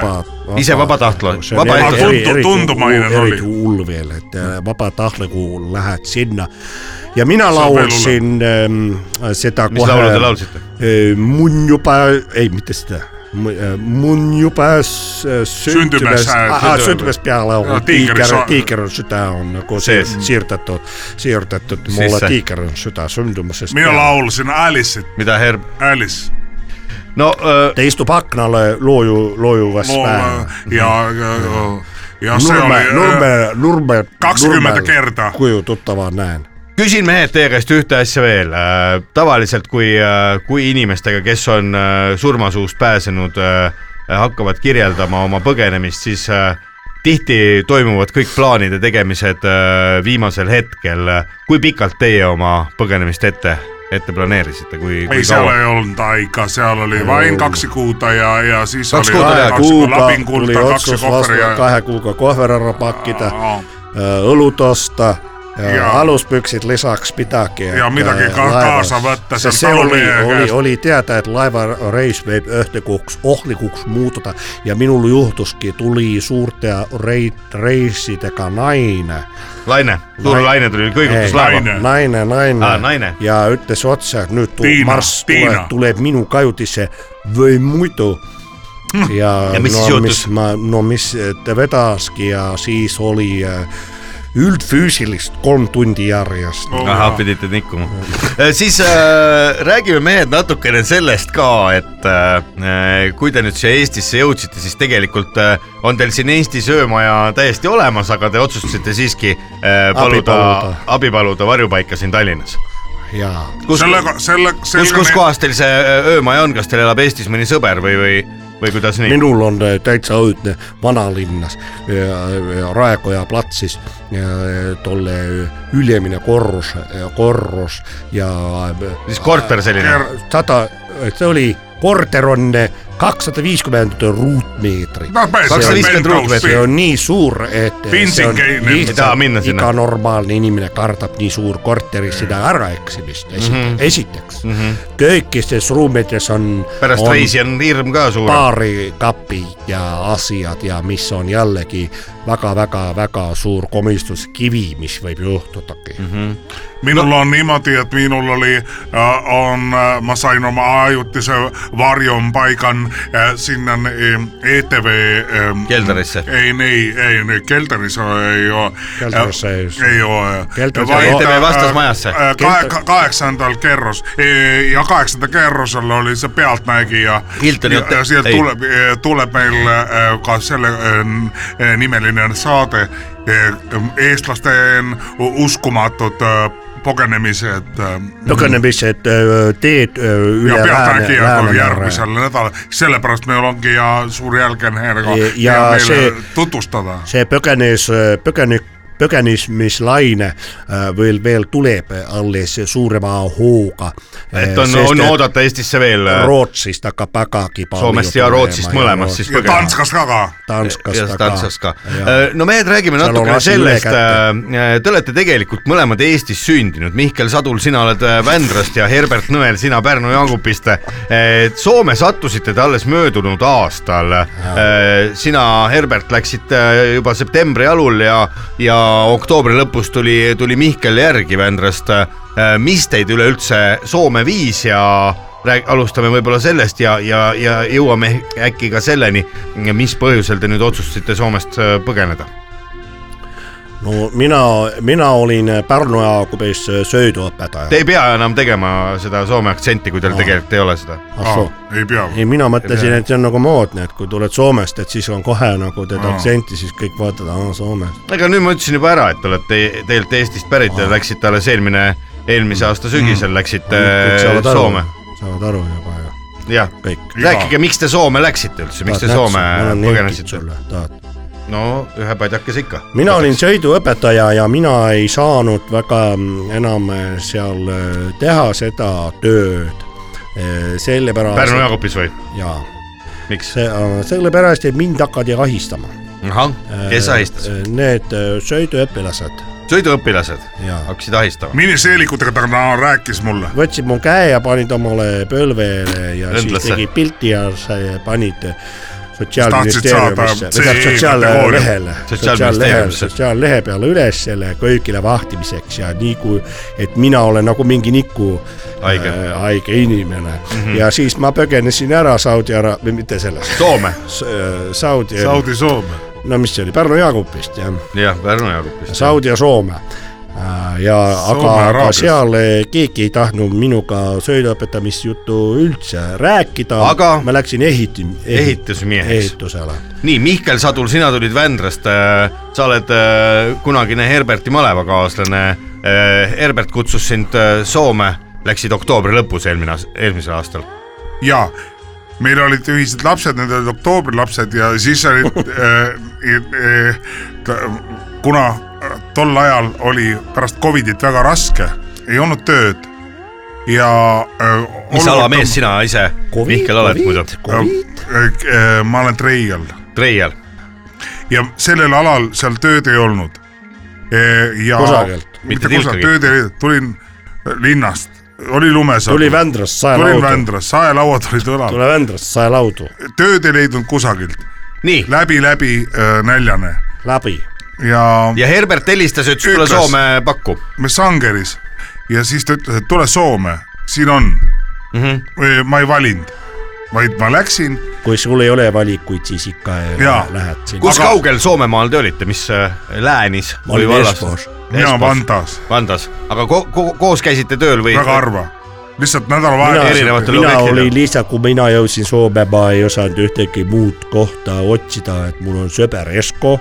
D: Ise vabatahtlo-
F: Se on
D: vaba-
F: eri-
E: Tuntu-
F: eri- eri-
E: tuntumainen oli.
F: eri ulville, että vapaa tahto, kun lähdet sinne. Ja minä
E: on
F: laulsin ähm, sitä
D: mis laulu te laulsite ?
F: Äh, Mun jopa, ei mitä sitä, Mu- äh, mun jopa s- äh, syntymäs,
E: Syntymäs, äh,
F: ah, ah,
E: syntymäs.
F: syntymäs päällä
E: Joo,
F: on
E: tiikerin
F: tiikerin,
E: sa-
F: tiikerin sytä on, kun se
D: Sees.
F: siirtetty, siirtetty mulla
D: Sisse.
F: tiikerin sytä syntymässä.
E: minä laulsin Alice,
D: mida Herb ?
E: Alice.
D: no äh, öö,
F: Te istu paknalle luoju, luojuvas
E: Mulla-
F: päähän.
E: äh, Ja, ja, ja- ja No se oli...
F: Mm-hmm.
E: äh,
F: Nurme,
E: ö,
F: nurme, nurme,
E: 20
F: nurme
E: kertaa. Niin,
F: Kujututtavaa näin.
D: küsin mehed teie käest ühte asja veel . tavaliselt , kui , kui inimestega , kes on äh, surmasuust pääsenud , hakkavad kirjeldama oma põgenemist , siis äh, tihti toimuvad kõik plaanide tegemised äh, viimasel hetkel . kui pikalt teie oma põgenemist ette , ette planeerisite , kui ,
E: Ei
D: kui
E: siellä
D: kaua ?
E: ei ollut aikaa, siellä oli vain kaksi kuuta ja, ja siis
D: Kaksi
E: oli
D: kuuta ja
E: kaksi Lapin
F: tuli
E: kulta, kaksi
F: otsus
E: koperia.
F: vastaan kahden kuukauden kohverarapakkia.
E: Aa.
F: Ö, olutosta, ja,
E: Ja-
F: aluspyksit lisäksi pitääkin.
E: Ja
F: että
E: mitäkin ka-
F: laiva-
E: kaasavättä
F: se,
E: sen
F: se oli,
E: talvien
F: oli,
E: käest.
F: oli tietää, että laiva reis vei öhtikuksi, ohlikuksi muututa. Ja minulla juhtuskin tuli suurtea rei, reissiteka nainen.
D: Laine , suur
F: Lai-
D: laine tuli , kõigutas laeva .
E: Laine.
F: Nainen, nainen.
D: Ah, nainen.
F: Ja yttes otsa, että nyt tuu,
E: Tiina,
F: mars
E: Tiina.
F: tulee, tulee minun kautisse, voi muitu. Ja,
D: Hm. Ja mis siis
F: no,
D: juhtus?
F: mis, mä, no mis te vetäski ja siis oli äh, üldfüüsilist kolm tundi järjest .
D: ahah , pidite nikkuma . siis äh, räägime mehed natukene sellest ka , et äh, kui te nüüd siia Eestisse jõudsite , siis tegelikult äh, on teil siin Eesti söömaja täiesti olemas , aga te otsustasite siiski äh, paluda ,
F: paluda.
D: abi paluda varjupaika siin Tallinnas .
H: jaa .
D: kus ,
E: sellega , selle ,
D: kus , kus kohas teil see ö, öömaja on , kas teil elab Eestis mõni sõber või , või , või kuidas nii ?
F: minul on äh, täitsa õudne vanalinnas äh, äh, Raekoja platsis äh, tolle ülemine korrus , korrus ja äh,
D: siis korter selline ,
F: sada , see oli , korter on kakssada viiskümmend ruutmeetrit . see on nii suur , et see on
E: Pintsikeinen.
D: Ei taha minna sinna.
F: iga normaalne inimene kardab nii niin suur korteris seda äraeksimist esi- mm -hmm. esiteks mm . -hmm. kõikides ruumides on ,
D: pärast
F: on
D: reisi on hirm ka suur .
F: baarikapi ja asiat ja mis on jällegi väga-väga-väga suur komistuskivi , mis võib juhtudagi mm . -hmm.
E: Minulla on niimoodi, että minulla oli, äh, on, äh, mä sain oma ajutisen varjon paikan äh, sinne äh, ETV... Äh,
D: Keltarisse.
E: Ei, niin, ei, niin, keltarissa ei ole.
H: Keltarissa ei ole.
E: Ei ole.
H: Keltarissa
E: Vaan,
D: ei ole.
E: äh,
D: ETV vastasmajassa.
E: äh, Kah- kahdeksantalla kerros. Ee, Ja kahdeksanta kerrosella oli se Peltmäki ja,
D: Hilton
E: ja,
D: Hotel.
E: ja sieltä
D: Ei.
E: tule, ee, tulee meille ee, kas äh, selle, ee, n- äh, ee, nimellinen saate ee, eestlasten u- uskomatut ee, pokenemiset. ee,
F: põgenemised öö, teed öö,
E: äh, ja
F: üle
E: Peltmäki alkoi
F: Läänemere .
E: järgmisellä nädalalla. Selle pärast meillä onkin ja suuri jälkeenherko
F: Ja-
E: ja,
F: ja
E: meillä
F: se-
E: tutustetaan.
F: see põgenes , põgenik , põgenismislaine öö, äh, veel , veel tuleb alles suurema hooga .
D: et on , on oodata Eestisse veel äh,
F: Rootsist hakkab vägagi palju .
D: Soomest ja Rootsist mõlemast siis
E: Ja
D: põgenema .
E: Tanskassa kakaa.
F: Tanskast
D: ja Tanskast ka Äh,
F: Jaa. .
D: no mehed , räägime
F: Seal on
D: natukene
F: asi
D: sellest ,
F: ülekäte.
D: Äh, te olete tegelikult mõlemad Eestis sündinud , Mihkel Sadul , sina oled äh, Vändrast ja Herbert Nõel , sina Pärnu Jaagupist . Soome sattusite te alles möödunud aastal . sina , Herbert , läksid äh, juba septembri alul ja , ja oktoobri lõpus tuli , tuli Mihkel järgi Vändrast . mis teid üleüldse Soome viis ja rääg- , alustame võib-olla sellest ja , ja , ja jõuame äkki ka selleni , mis põhjusel te nüüd otsustasite Soomest äh, põgeneda .
F: no mina , mina olin Pärnu Jaagupis sööduõpetaja
D: Te . ei pea enam tegema seda Soome aktsenti , kui teil
F: Aa.
D: tegelikult ei ole seda .
F: ahsoo ,
E: ei pea .
F: ei mina mõtlesin , et see on nagu moodne , et kui tuled Soomest , et siis on kohe nagu teed
E: Aa.
F: aktsenti , siis kõik vaatavad , aa Soome .
D: ega nüüd ma ütlesin juba ära , et te olete tegelikult Eestist pärit
F: Ah.
D: ja läksite alles eelmine , eelmise aasta sügisel läksite äh, Soome .
F: Mm. saavad aru juba ju ,
D: jah ,
F: kõik . Ah,
D: rääkige , miks te Soome läksite üldse , miks te Soome põgenesite ?
F: tahad ?
D: no ühe padjakese ikka .
F: mina olin sõiduõpetaja ja mina ei saanud väga mm, enam eh, seal eh, teha seda tööd . sellepärast .
D: Pärnu Jaagupis või ?
F: jaa ,
D: miks ?
F: see , sellepärast , et mind hakati ahistama .
D: ahah ,
F: Äh,
D: kes ahistas ?
F: Need eh, sõiduõpilased
D: sõiduõpilased
F: Jaa.
D: hakkasid ahistama .
E: Mini seelikutega tämä rääkis mulle.
F: võtsid mu käe ja panid omale põlvele ja Endlasse.
D: Endlasse.
F: siis tegid pilti ja sa- ja panid
E: Tahtsid saada ,
F: sotsiaalministeeriumisse
E: CE
F: sotsiaallehele , sotsiaallehele ,
D: Sotsiaalministeeriumisse.
F: sotsiaallehe peale üles selle kõigile vahtimiseks ja nii kui , et mina olen nagu mingi niku
D: Haige.
F: äh, haige inimene mm -hmm. ja siis ma põgenesin ära Saudi Araabia , või mitte sellest ,
D: Soome .
F: Saudi ,
E: Sauti Suomi.
F: no mis see oli , Pärnu Jaagupist jah
D: jah , Pärnu Jaagupis .
F: Saudi ja Soome . ja aga , aga
E: Araabias.
F: seal eh, keegi ei tahtnud minuga sõiduõpetamisjuttu üldse rääkida
D: Aga-
F: ma läksin ehiti- ,
D: Ehitusmeheks.
F: ehitusele .
D: nii , Mihkel Sadul , sina tulid Vändrast , sa oled äh, kunagine Herberti malevakaaslane . Herbert kutsus sind äh, Soome , läksid oktoobri lõpus eelmine , eelmisel aastal .
E: Ja meillä oli ühised lapsed, need olid oktoobilapsed ja siis oli, äh, äh, t- kuna äh, tol ajal oli pärast Covidit väga raske, ei olnud tööd ja äh,
D: mis
E: olukord
D: ala
E: on-
D: mees sina ise , Mihkel , oled muidu ?
E: Äh, äh, Mä olen treial
D: treial .
E: ja sellel alal seal tööd ei olnud . ja
F: Kusagilt.
D: Mitte
E: mitte kusagilt ,
D: tilkagi.
E: tööd ei olnud , tulin linnast , oli lumesadu .
F: tuli Vändrast
E: tulin
F: saelaudu ,
E: Vändrast , saelauad olid õlal ,
F: tule Vändrast saelaudu ,
E: tööd ei leidunud kusagilt ,
D: nii ,
E: läbi , läbi äh, näljane
F: läbi .
E: ja, ja.
D: ja Herbert helistas ja ütles , tule
E: Ütles.
D: Soome pakku .
E: me Sangeris ja siis ta ütles , et tule Soome , siin on mm .
D: Mhm.
E: -hmm. ma ei valinud , vaid ma läksin
F: kui sul ei ole valikuid , siis ikka
E: Jaa.
F: lähe- lähed sinna .
D: kus
E: Aga-
D: aga... kaugel Soomemaal te olite , mis äh, läänis
F: ma olin
D: või vallas ?
F: Espoos ,
E: mina . Vantas ,
D: Vandas , aga ko ko koos käisite tööl või ?
E: väga harva , lihtsalt
D: Mina-
E: nädalavahetusel .
D: erinevatel
F: mina
D: objektidel.
F: olin lihtsalt , kui mina jõudsin Soome , ma ei osanud ühtegi muud kohta otsida , et mul on sõber Esko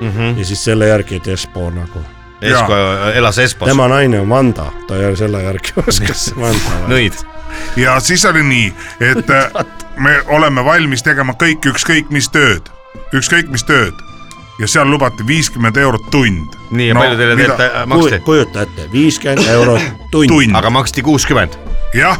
F: mm -hmm. ja siis selle järgi , et Espo nagu
D: Esko elas Espas .
F: tema naine on Vanda , ta ei ole selle järgi oskas Vanda või ?
D: nõid .
E: ja siis oli nii , et äh, me oleme valmis tegema kõik ükskõik mis tööd , ükskõik mis tööd ja seal lubati viiskümmend eurot tund .
D: nii , ja palju teile tegelikult äh, maksti ?
F: kujuta ette , viiskümmend eurot tund .
E: tund ,
D: aga maksti kuuskümmend .
E: jah ,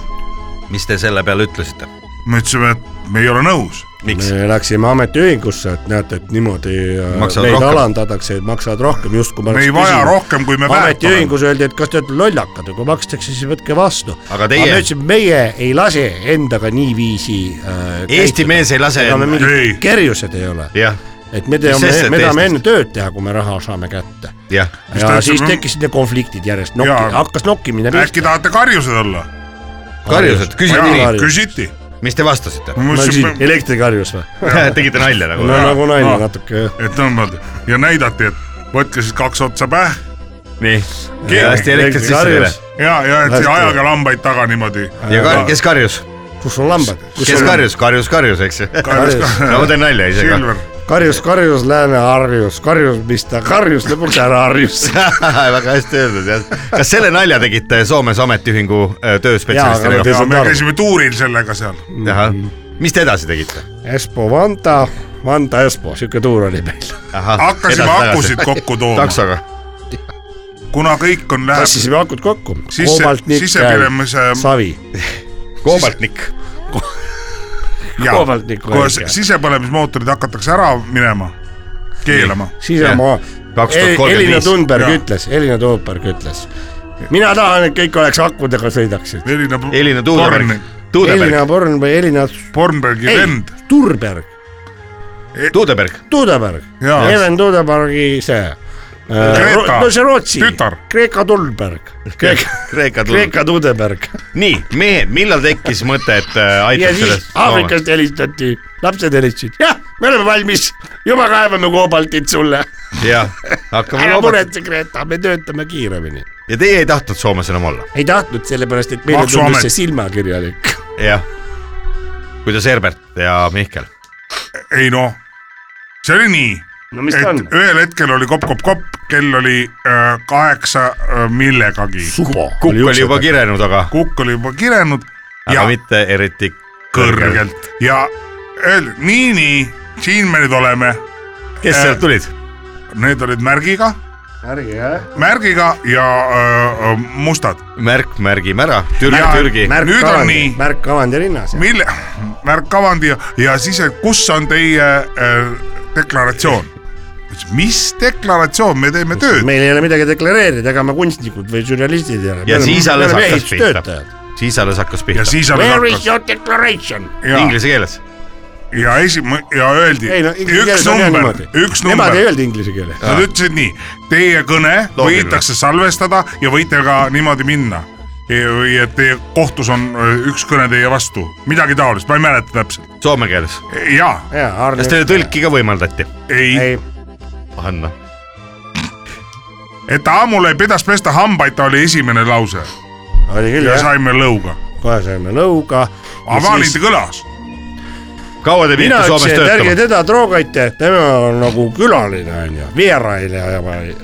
D: mis te selle peale ütlesite ?
E: me ütlesime , et me ei ole nõus .
D: miks ?
F: me läksime ametiühingusse , et näete , et niimoodi äh,
D: Maksavad
F: neid
D: rohkem.
F: alandatakse , et maksavad rohkem justkui .
E: me ei vaja rohkem , kui me väärt oleme .
F: ametiühingus öeldi , et kas te olete lollakad ja kui makstakse , siis võtke vastu .
D: Aga teie-
F: me ütlesime , meie ei lase endaga niiviisi äh,
D: Eesti
F: käituda.
D: mees ei lase
F: ega me
D: enda-
E: Ei.
F: mingid kerjused ei ole ,
D: jah ,
F: et me
D: Mis sest,
F: teame ,
D: et
F: me tahame
D: Eestist-
F: enne tööd teha , kui me raha saame kätte .
D: jah .
E: Mis ta
F: ja
E: üldse-
F: siis tekkisid need konfliktid järjest ,
E: mm. Jaa.
F: hakkas nokkimine
E: äkki tahate karjused olla ?
D: karjused , küsiti
F: Jaa.
D: nii ,
E: küsiti .
D: mis te vastasite ?
E: ma ütlesin ,
F: Nagu elektrikarjus või ?
D: tegite nalja nagu
F: no ? nagu naine
E: Aa.
F: natuke jah .
E: et tõmbad ja näidati , et võtke siis kaks otsa pähe
D: nii . hästi elektrit sisse teile .
E: ja , ja et
F: Hästi.
E: ajage lambaid taga niimoodi .
D: ja kar- , kes karjus ?
F: kus on lambad ?
D: kes karjus , karjus , karjus , eks ju . no ma teen nalja ise ka .
E: Silver ,
F: karjus , karjus , Lääne-Harjus , karjus , mis ta karjus , lõpuks ära harjus .
D: väga hästi öeldud jah . kas selle nalja tegite Soomes ametiühingu äh,
F: Jaa, aga
D: tööspetsialistiga
F: te- ?
E: ja
F: saad
E: me
F: aru.
E: käisime tuuril sellega seal .
D: ahah , mis te edasi tegite ?
F: Espoo Vanta , Vanta Espoo , siuke tuur oli meil .
E: Äh. hakkasime akusid kokku tooma ,
D: taksoga .
E: kuna kõik on läheb
F: tassisime akud kokku .
E: Sisse- sisepilemise-
F: savi .
D: koobaltnik .
E: ja
F: koobaltniku
E: kui
F: väike.
E: sisepõlemismootorid hakatakse ära minema , keelama .
F: sisemaa .
D: 2035.
F: Elina Tunberg
E: Jaa.
F: ütles , Elina Tunberg ütles . mina tahan , et kõik oleks akudega sõidaksid .
E: Elina ,
D: Elina Tuudeberg . Tuudeberg ,
F: Elina Born või Elina ,
E: Bornbergi
F: ei
E: vend ,
F: Turberg ,
D: Tuudeberg ,
F: Tuudeberg ,
E: Jaa.
F: Even Tuudebergi see .
E: Kreeka
F: Äh, no see Rootsi ,
E: tütar.
F: Kreeka Tulberg , Kreeka ,
D: Kreeka tulnud .
F: Kreeka Tuudeberg
D: nii , mehed , millal tekkis mõte , et äh,
F: ja
D: aitab
F: siis
D: sellest ?
F: Aafrikast helistati , lapsed helistasid , jah , me oleme valmis , juba kaevame koobaltit sulle .
D: jah , hakkame
F: ära
D: looma .
F: muretse , Greta , me töötame kiiremini .
D: ja teie ei tahtnud Soomes enam olla ?
F: ei tahtnud , sellepärast et meile
E: Maksuamet.
F: tundus see silmakirjalik .
D: jah . kuidas Herbert ja Mihkel ?
E: ei noh , see oli nii ,
F: no mis ta on
E: et ? ühel hetkel oli kopp-kopp-kopp , kell oli äh, kaheksa äh, millegagi ,
F: subo .
D: kukk oli juba kirenud , aga ,
E: kukk oli juba kirenud
D: aga
E: ja
D: mitte eriti kõrgel .
E: kõrgelt ja öeldi nii-nii , siin me nüüd oleme
D: kes sealt tulid ?
E: Need olid märgiga . märgiga . märgiga ja öö, mustad .
D: märk märgime ära , Türgi
E: Jaa, ,
D: Türgi .
E: märk- Nüüd on nii.
F: märk Avandi linnas .
E: mille , värk Avandi ja, ja siis , et kus on teie öö, deklaratsioon ? mis deklaratsioon , me teeme tööd .
F: meil ei ole midagi deklareerida , ega me kunstnikud või sürrealistid ei ole .
D: ja siis alles hakkas pihta . siis alles hakkas
E: ja
D: pihta .
E: siis alles
F: Where is
E: hakkas
F: your declaration ?
E: ja ,
D: inglise keeles .
E: ja esi- ja öeldi
F: ei no inglise
E: üks
F: keeles on jah
E: number
F: niimoodi ,
E: üks .
F: Nemad ei
E: number .
F: öelnud inglise keeles .
E: Nad ütlesid nii , teie kõne
D: Loogiline.
E: võidakse salvestada ja võite ka niimoodi minna . või et teie kohtus on öö, üks kõne teie vastu , midagi taolist , ma ei mäleta täpselt .
D: Soome keeles .
E: jaa ,
D: kas teile tõlki ka võimaldati ?
E: ei, ei. ,
F: ei ,
D: Anna .
E: et aamul ei pidas pesta hambaid , ta oli esimene lause
F: oli küll
E: ja
F: jah ,
E: saime lõuga .
F: kohe saime nõuga .
E: avaalid kõlas .
D: kaua te
F: mina
D: pidite Soomes
F: ütlesin , et ärge
D: töötama ?
F: teda troogite , tema on nagu külaline onju , vierailja ,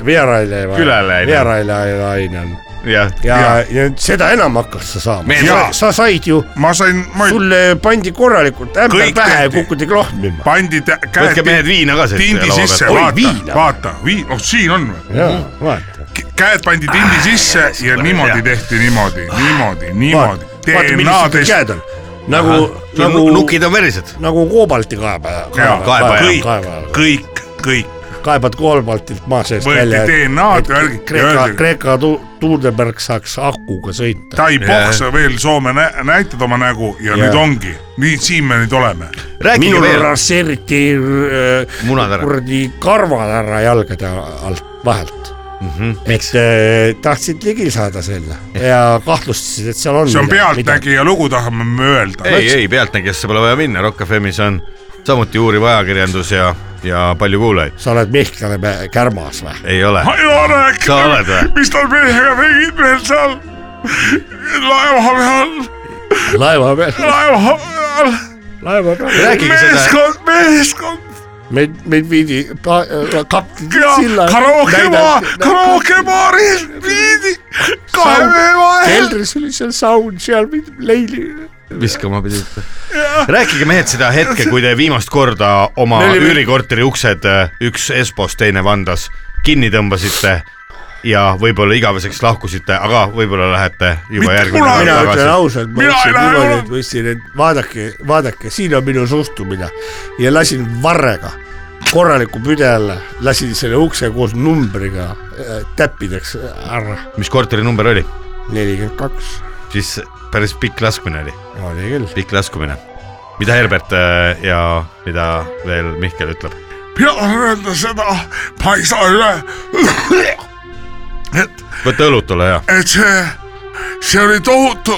F: vierailja ,
D: Küläläinen.
F: vierailja on
D: jah ,
F: ja, ja. , ja seda enam hakkas sa saama
D: Meil-
E: jaa.
F: sa, sa said ju ,
E: ma sain , ma ei-
F: sulle pandi korralikult ämber
E: Kõik
F: pähe ja
E: tehti.
F: kukuti klohmima .
E: pandi tä-
D: võtke mehed
E: käed
D: viina ka siit
E: tindi
D: laua
E: sisse ,
D: pealt.
F: Oi,
E: vaata ,
F: viina.
E: vaata , vii- , oh siin on või ?
F: jaa , vaata ,
E: käed pandi
F: Ah,
E: tindi sisse ja niimoodi tehti , niimoodi , niimoodi , niimoodi
F: vaata ,. vaata millised sul käed on . nagu , nagu
D: Ah, Nu- , nukid on verised .
F: nagu koobalti kaeba-
E: Jaa,
F: kaeba-
D: kaebaja.
F: kaeba-
E: kõik
F: kaeba- ,
E: kõik , kõik
F: kaebad koobaltilt maa seest
E: Võeti
F: välja .
E: DNA-d värgi- ja
F: Kreeka ,
E: öeldi-
F: Kreeka tu- Tuudeberg saaks akuga sõita .
E: ta ei poksa veel Soome nä- , näitad oma nägu ja nüüd ongi , nii siin me nüüd oleme .
D: rääkige
F: minul
D: veel .
F: rasseeriti äh,
D: munad ära .
F: kuradi karvad ära jalgade alt , vahelt
D: Mhm.
F: mm . -hmm. et äh, tahtsid ligi saada selle ja kahtlustasid , et seal on .
E: see on . pealtnägija lugu , tahame me öelda .
D: ei , ei Pealtnägijasse pole vaja minna , Rock FM'is on samuti uuriv ajakirjandus ja , ja palju kuulajaid .
F: sa oled Mihkel Mä- kärmas või ?
D: ei ole .
E: ma ei ole
D: Sa oled või?
E: mis tal mehega tegid veel seal laeva peal ,
F: laeva peal ,
E: laeva peal ,
F: laeva peal .
D: rääkige seda ,
E: meeskond , meeskond ,
F: meid , meid viidi pa- äh, kapten
E: ja
F: Silla
E: karookemaa
F: näidati- ,
E: karookebaaril viidi kahe
F: Saun-
E: mehe vahel .
F: keldris oli seal saun , seal mind leili .
D: viskama pidite . rääkige mehed seda hetke , kui te viimast korda oma
F: Me olime-
D: üürikorteri uksed , üks Espos , teine Vandas , kinni tõmbasite ja võib-olla igaveseks lahkusite , aga võib-olla lähete juba järgmine päev
E: kunagi.
F: mina ütlen
D: tagasi .
F: ausalt , ma
E: Mina ei
F: ütlesin
E: lähe
F: niimoodi ,
E: enam.
F: et ma ütlesin , et vaadake , vaadake , siin on minu suhtumine ja lasin varrega korraliku püde alla , lasin selle ukse koos numbriga äh, täppideks ära .
D: mis korteri number oli ?
F: nelikümmend kaks
D: siis päris pikk laskmine oli ,
F: oli küll .
D: pikk laskumine . mida Herbert äh, ja mida veel Mihkel ütleb ?
E: mina tahan öelda seda , ma ei saa üle , et ,
D: võta õlut , ole hea .
E: et see , see oli tohutu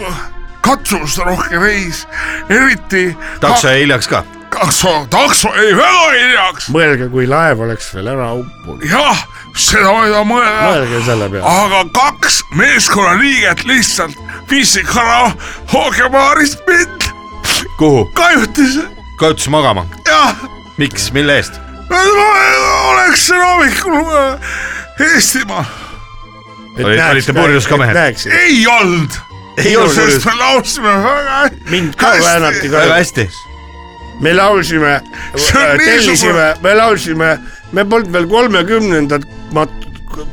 E: katsumusterohke reis , eriti .
D: takso jäi hiljaks ka .
E: takso , takso jäi väga hiljaks ,
F: mõelge , kui laev oleks veel ära uppunud ,
E: jah , seda ma ei taha mõelda
F: mõelge selle peale .
E: aga kaks meeskonnaliiget lihtsalt viisid kara hoogebaarist mind
D: kuhu ?
E: kajutisse
D: kajutis magama .
E: ja
D: miks , mille eest ?
E: ma oleksin hommikul äh, Eestimaal .
D: Olid- olite purjus ka mehed?
F: näeksid ,
E: ei olnud .
D: Ei olnud
E: sest me laulsime väga hästi .
F: mind ka
E: Hästi.
F: väänati ka
D: väga . hästi .
F: me laulsime ,
E: See on
F: tellisime , me laulsime , me polnud veel kolmekümnendat ma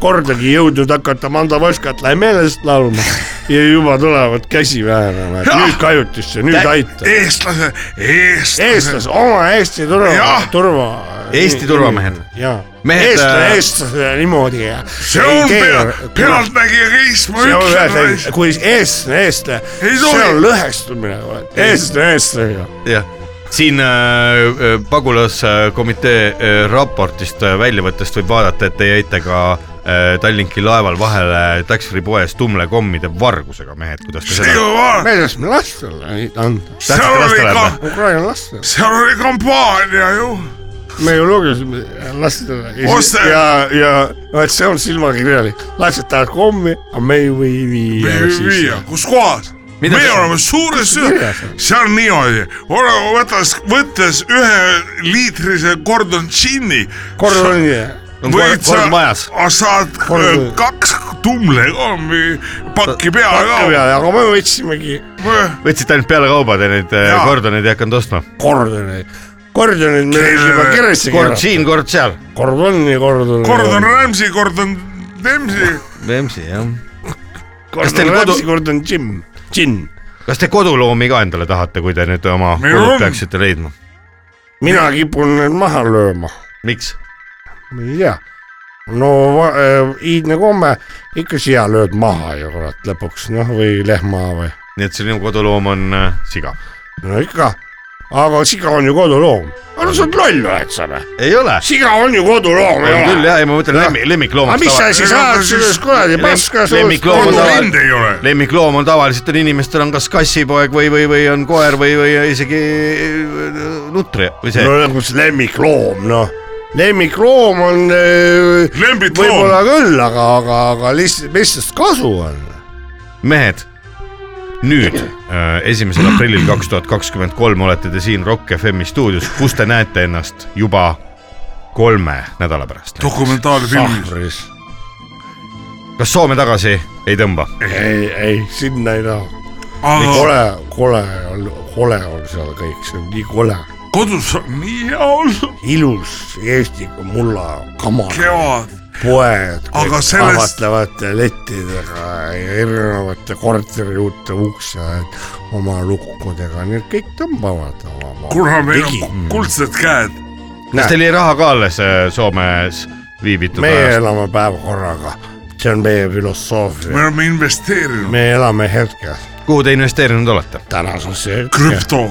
F: kordagi jõudnud hakata Manda Voskat läheb meelest laulma ja juba tulevad käsi väänama , et nüüd kajutisse , nüüd
E: E-
F: aitab .
E: eestlase , eestlase .
F: eestlased , oma Eesti turva
E: Jah. ,
F: turva .
D: Eesti turvamehed. .
F: jaa ,
D: Mehed,
F: eestlane
D: äh,
F: eestlase niimoodi .
E: see on pea- pealtnägija reis , ma
F: see on
E: ütlen .
F: ühes , kui eestlane , eestlane ,
E: Ei tohi.
F: see on lõhestumine , eestlane , eestlane .
D: jah , siin äh, äh, pagulaskomitee äh, raportist äh, väljavõttest võib vaadata , et te jäite ka äh, Tallinki laeval vahele Taxfree poes tumlekommide vargusega , mehed , kuidas te seda
E: seal
F: me saame lastele neid anda ,
E: oli
D: lastele
E: ka ,
D: anda.
F: Ukraina lastele .
E: seal oli kampaania ju .
F: me ju lugesime lastele
E: Osta-
F: ja , ja vaat see on silmakirjalik , lapsed tahavad kommi , aga me ei või viia .
E: viia , kus kohas ?
D: Mida
E: meie
D: sa-
E: oleme suures ,
F: kirjas on?
E: see on niimoodi , ole võttes , võttes ühe liitrise Gordon Gini .
F: kordoni ,
D: on kord, kord majas .
E: Ah, saad öö,
F: Gordon-
E: kaks tumlekommi pakki peale
F: aga me võtsimegi
E: ka .
D: võtsite ainult pealekauba , te neid äh,
E: Jaa.
D: kordoneid ei hakanud ostma .
F: kordoni , kordoni , meil oli
E: Keele-
F: juba keresse
D: kord
F: kirjas ,
D: siin , kord seal .
F: kordoni , kordoni .
E: Gordon Ramsay , Gordon Dempsey ,
D: Vemsi , jah . kas
F: Gordon
D: teil kodu
F: Ramsay ,, kordon Jim , Jim .
D: kas te koduloomi ka endale tahate , kui te nüüd oma
E: Meil
D: kodud
E: on.
D: peaksite leidma ?
F: mina kipun need maha lööma ,
D: miks ?
F: ma ei tea no va- äh, iidne komme , ikka siia lööd maha ju kurat lõpuks , noh või lehma või .
D: nii et sinu koduloom on äh, siga .
F: no ikka , aga siga on ju koduloom . no sa oled loll või , eks ole .
D: ei ole .
F: siga on ju koduloom ,
D: on
F: ei
D: küll
F: ole .
D: jah , ei ma mõtlen lemmi- ,
F: aga
D: lemmikloomaks .
F: mis sa siis ajad
E: Siis-
F: selles kuradi
D: lem-
F: paska suust
D: lemmikloom on
F: kodu-
D: tavaline.
E: linde ei ole .
D: lemmikloom on tavaliselt on inimestel on kas kassipoeg või , või , või on koer või , või isegi äh, nutri või see
F: no nagu see lemmikloom , noh . lemmikloom on äh,
E: lembitloom
F: võib-olla , küll , aga , aga , aga lihtsalt , mis sest kasu on ?
D: mehed , nüüd , esimesel aprillil kaks tuhat kakskümmend kolm olete te siin Rock FM stuudios , kus te näete ennast juba kolme nädala pärast .
E: dokumentaalfilmis .
F: ahvris .
D: kas Soome tagasi ei tõmba ?
F: ei , ei , sinna ei taha .
D: Ah,
E: aga
F: kole , kole on , kole on seal kõik , see on nii kole .
E: kodus on nii hea olla ,
F: ilus Eesti mulla kamar .
E: kevad .
F: poed
E: Aga
F: kõik
E: sellest-
F: ahvatlevate lettidega ja erinevate korteriuute ukse oma lukkudega , need kõik tõmbavad oma .
E: kuna meil
D: Mm.
E: on kuldsed käed .
D: kas teil jäi raha ka alles äh, Soomes viibitud
F: meie
D: ajast ?
F: elame päevakorraga , see on meie filosoofia ,
E: me oleme investeerinud
F: me elame hetkes ,
D: kuhu te investeerinud olete ?
F: tänases hetkes .
E: krüpto ,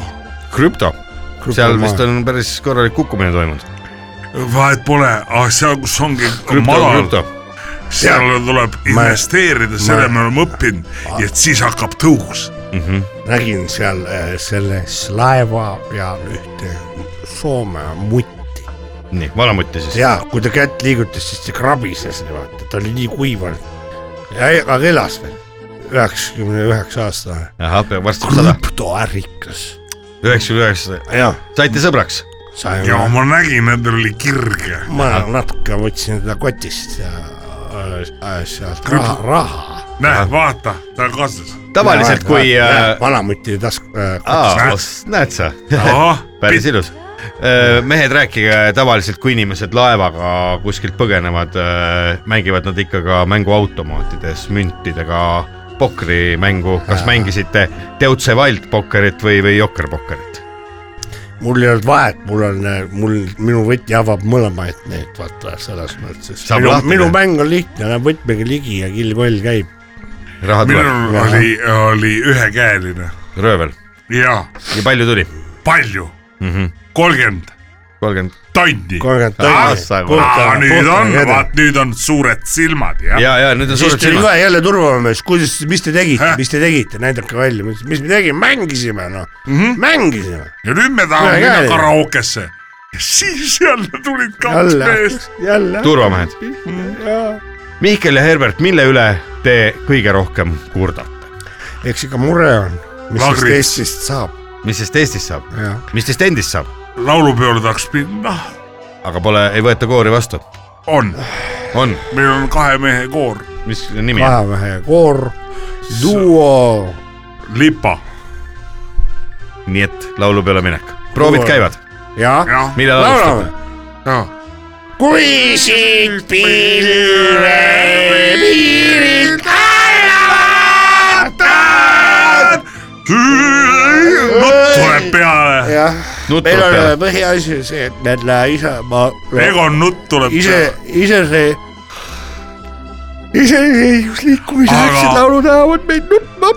D: krüpto, krüpto , seal vist on päris korralik kukkumine toimunud .
E: vahet pole , aga seal , kus ongi
D: krüpto ,
E: madal ,
D: krüpto .
E: seal tuleb investeerida , selle me oleme õppinud
D: Ah.
E: ja et siis hakkab tõus .
F: nägin seal äh, selles laeva peal ühte Soome mutti
D: nii , valamutti siis .
F: ja kui ta kätt liigutas , siis see krabises niimoodi , ta oli nii kuivanud . aga elas veel , üheksakümne üheksa aastane .
D: ahah , varsti saab sada .
F: krüptoärikas .
D: üheksakümmend üheksa ,
F: jah ,
D: saite sõbraks ,
F: sain
E: ja ma nägin , nendel oli kirge .
F: ma natuke võtsin seda kotist ja äh, äh, sealt raha , raha .
E: näed , vaata , ta on kaasas .
D: tavaliselt kui .
F: vanamuti tasku äh, .
D: Aa, os- näed sa , päris ilus . mehed , rääkige äh, tavaliselt , kui inimesed laevaga kuskilt põgenevad , mängivad nad ikka ka mänguautomaatides müntidega pokrimängu , kas mängisite Teutse valdpokkerit või , või jokkerpokkerit ?
F: mul ei olnud vahet , mul on , mul , minu võti avab mõlemaid neid , vaata selles mõttes .
D: Saab
F: minu ,
D: lahti
F: minu
D: teha.
F: mäng on lihtne , läheb võtmegi ligi ja kill-pall käib .
D: raha tuleb ,
E: minul oli , oli ühekäeline
D: röövel .
E: ja
D: ja palju tuli ?
E: palju ,
F: Mhm.
E: kolmkümmend
D: kolmkümmend .
E: tonni .
F: kolmkümmend tonni .
E: Aa, nüüd on ,
F: käde.
E: vaat nüüd on suured silmad ja, ja. .
D: ja , ja nüüd on
F: siis
D: suured
F: tuli
D: silmad .
F: kohe jälle turvamees , kuidas , mis te tegite
E: Häh? ,
F: mis te tegite , näidake välja , mis me tegime , mängisime noh mm ,
E: Mhm.
F: -hmm. mängisime .
E: ja nüüd me tahame
F: Ühekäeline.
E: minna karaokesse . ja siis jälle tulid kaks
F: jälle
E: meest ,,
F: jälle .
D: turvamehed . Mihkel ja Herbert , mille üle te kõige rohkem kurdate ?
F: eks ikka mure on , mis
E: Lagrid.
F: siis Eestist saab .
D: mis sest Eestist saab ? mis sest endist saab ?
E: laulupeole tahaks minna ,
D: aga pole , ei võeta koori vastu .
E: on ,
D: on ,
E: meil on kahe mehe koor ,
D: mis nimi on ?
F: kahemehe koor , duo ,
E: lipa ,
D: nii et laulupeole minek . proovid
F: Kuule.
D: käivad ,
F: jah .
E: jah ,
D: millal alustate ?
E: ja
F: kui sind pilve piirilt ära vaatad .
E: nutt tuleb peale ,
F: jah ,
D: nutu
F: meil on äh,
D: peale ,
F: põhiasi see , et me lähe ise , ma
E: Egon nutt tuleb
F: ise
E: peale .,
F: ise see , iseseisvusliikumisaegsed
E: Aga-
F: laulud ajavad meid nutma .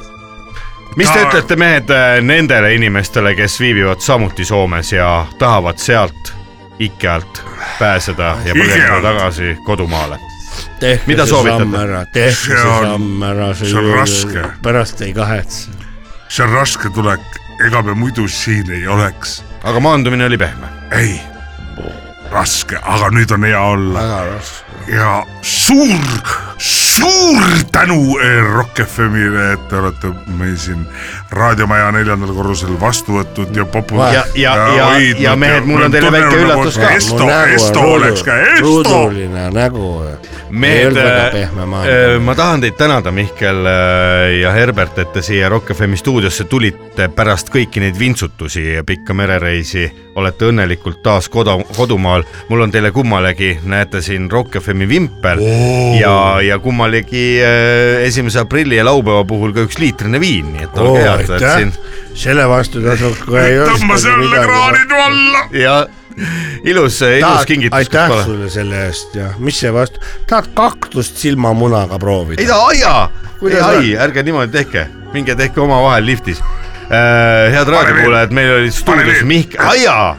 D: mis te ütlete , mehed , nendele inimestele , kes viibivad samuti Soomes ja tahavad sealt IKEA-lt pääseda ja põgeneda
E: Ikealt.
D: tagasi kodumaale ?
F: tehke
D: Mida
F: see
D: soovitate?
F: samm ära , tehke
E: See
F: see
E: on-
F: samm ära ,
E: see on raske.
F: pärast ei kahetse .
E: see on raske tulek , ega me muidu siin ei oleks ,
D: aga maandumine oli pehme .
E: ei , raske , aga nüüd on hea olla .
F: väga raske .
E: ja suur , suur tänu eh, Rock FM-ile , et te olete meil siin raadiomaja neljandal korrusel vastu võtnud ja popu- .
D: Ja- ja- ja- ja mehed, mul on teile väike üllatus ka.
E: Esto ,
F: nagu
E: Esto oleks ka , Esto . äh,
F: ruuduline nägu .
D: mehed
F: väga , pehme maailm .
D: äh, ma tahan teid tänada , Mihkel äh, ja Herbert , et te siia Rock FM stuudiosse tulite pärast kõiki neid vintsutusi ja pikka merereisi . olete õnnelikult taas kodu , kodumaal . mul on teile kummalegi , näete siin Rock FM-i vimpel oh. ja , ja kummalegi äh, esimese aprilli ja laupäeva puhul ka üks liitrine viin , nii et
F: Oo,
D: olge head , et
F: Oh, aitäh.
D: siin
F: selle vastu tasub kohe .
E: tõmba selle kraanid alla .
D: ja ilus , ilus kingitus .
F: aitäh sulle selle eest ja mis see vastu , tahad kaktust silmamunaga
D: ei
F: proovida ?
D: ta aja , ei
F: Kuidas
D: ai , ärge niimoodi tehke , minge tehke omavahel liftis . head raadiokuulajad , meil oli stuudios
E: veel.
D: Mihkel , aia ,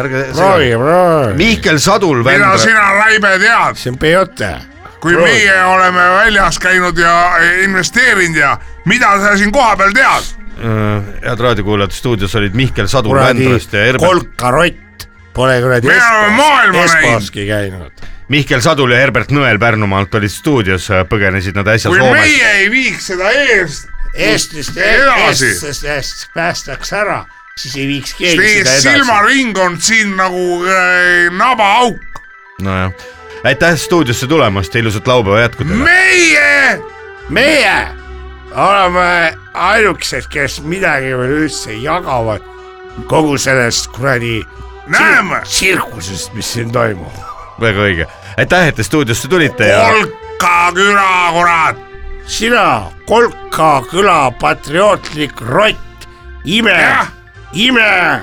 D: ärge
F: proovi ,
D: segage .
F: proovi .
D: Mihkel Sadul
E: mida
D: Vändra ,
E: sina , Raive , tead ,
F: see on peote
E: kui meie oleme väljas käinud ja eh, investeerinud ja mida sa siin kohapeal tead ?
D: Äh, head raadiokuulajad , stuudios olid Mihkel Sadul
F: kuradi
D: Vändrast ja Herbert ,
F: kolkarott , pole kuradi
E: Me oleme maailma
F: Espos ,
E: näinud.
F: Esposki käinud .
D: Mihkel Sadul ja Herbert Nõel Pärnumaalt olid stuudios , põgenesid nad äsja
E: kui
D: Soomest .
E: meie ei viiks seda eest ,
F: Eestist ,
E: Edasi.
F: Eestist päästaks ära , siis ei viiks keegi
E: siis
F: seda edasi .
E: silmaring on siin nagu äh, nabaauk .
D: nojah , aitäh stuudiosse tulemast ja ilusat laupäeva jätku teile .
E: meie
F: meie oleme ainukesed , kes midagi veel üldse jagavad kogu sellest kuradi
E: näeme
F: tsirkusest , mis siin toimub .
D: väga õige , aitäh , et te stuudiosse tulite ja
E: kolka küla , kurat .
F: sina , Kolka küla patriootlik rott , ime
E: Jah. ,
F: ime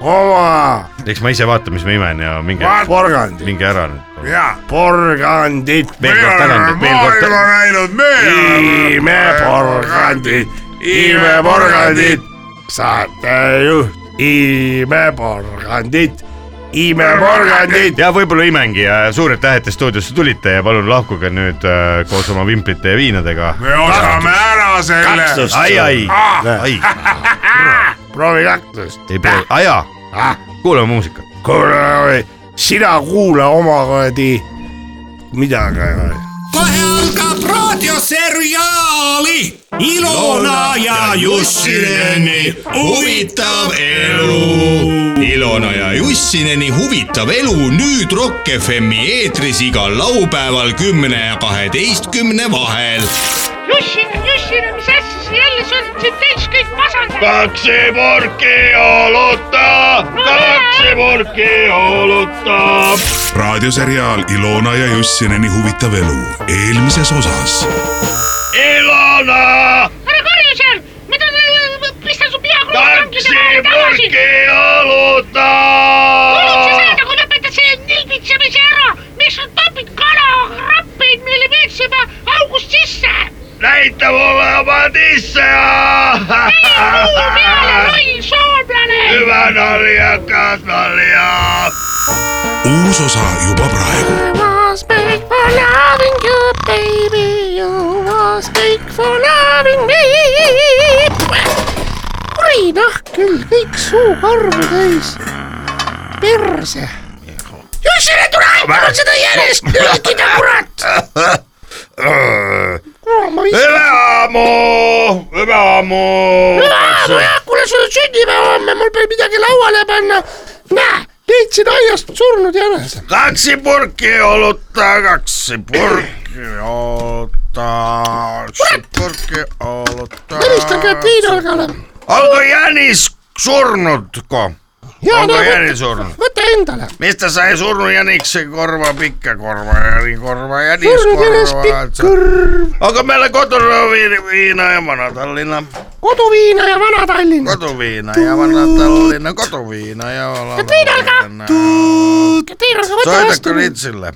F: oma
D: eks ma ise vaatan , mis ma imen ja minge ,
F: porgandit .
D: minge ära nüüd .
E: ja .
F: porgandit ,
D: veel kord tänan teid , veel kord
E: maailma
D: tänan .
E: näinud meie .
F: imeporgandit , imeporgandit , saatejuht , imeporgandit , imeporgandit ,
D: ja võib-olla imengi ja suur aitäh , et te stuudiosse tulite ja palun lahkuge nüüd äh, koos oma vimplite ja viinadega .
E: me ostame ära selle .
F: kaksus.
D: ai , ai , ai ,
F: proovi kaklust ,
D: ei pea , aja , Ah. kuulame muusikat .
F: kuule , sina kuula oma kuradi midagi .
I: tervetuloa Kohe alkab raadioseriaali Ilona ja Jussineni huvitav elu . Ilona ja Jussineni huvitav elu nüüd Rock FM-i eetris igal laupäeval kümne ja kaheteistkümne vahel .
J: Jussin , Jussin , mis asja siin jälle sul siin täis kõik masendab ?
G: raadioseriaal Ilona ja Jussineni huvitav elu eelmises osas .
J: ära karju seal , mida ta , pista su pea kuradi tanki tagasi . kuulad sa seda , kui lõpetad selle nilbitsemise ära , miks sa tapid kalarappeid , mille veetsime august sisse ? näita mulle oma tisse . ei muu peale , loll soomlane .
G: uus osa juba praegu .
J: was made for loving you, baby. You was made for loving me. oi noh , küll kõik suukarvu täis . perse . Jussile tule , palun seda järjest lõikida , kurat . kuule , ma viskan .
D: hüve ammu , hüve ammu .
J: kuule , sul on sünnipäev homme , mul peab midagi lauale panna . näe , leidsin aiast surnud jänese .
D: kaksi purkki olutta , kaksi purkki olutta , kaksi purkki olutta .
J: helistan Katrinalgale .
D: onko Jänis surnutko ?
J: Jaa,
D: onko
J: no,
D: Jäni surnud ?
J: võta endale .
D: mistä sai surnu jäniksen korva, pikkä korva, jäni korva, jänis
J: Surnu jänis,
D: korva?
J: pikk
D: Se- Onko meillä kotona vi- viina ja vanatallinna?
J: koduviina ja Vana-Tallinna .
D: Kotuviina ja vanatallinna, kotuviina ja vanatallinna.
J: Katrinalga , võta
D: Soitatko
J: vastu nüüd ,
D: Ritsille?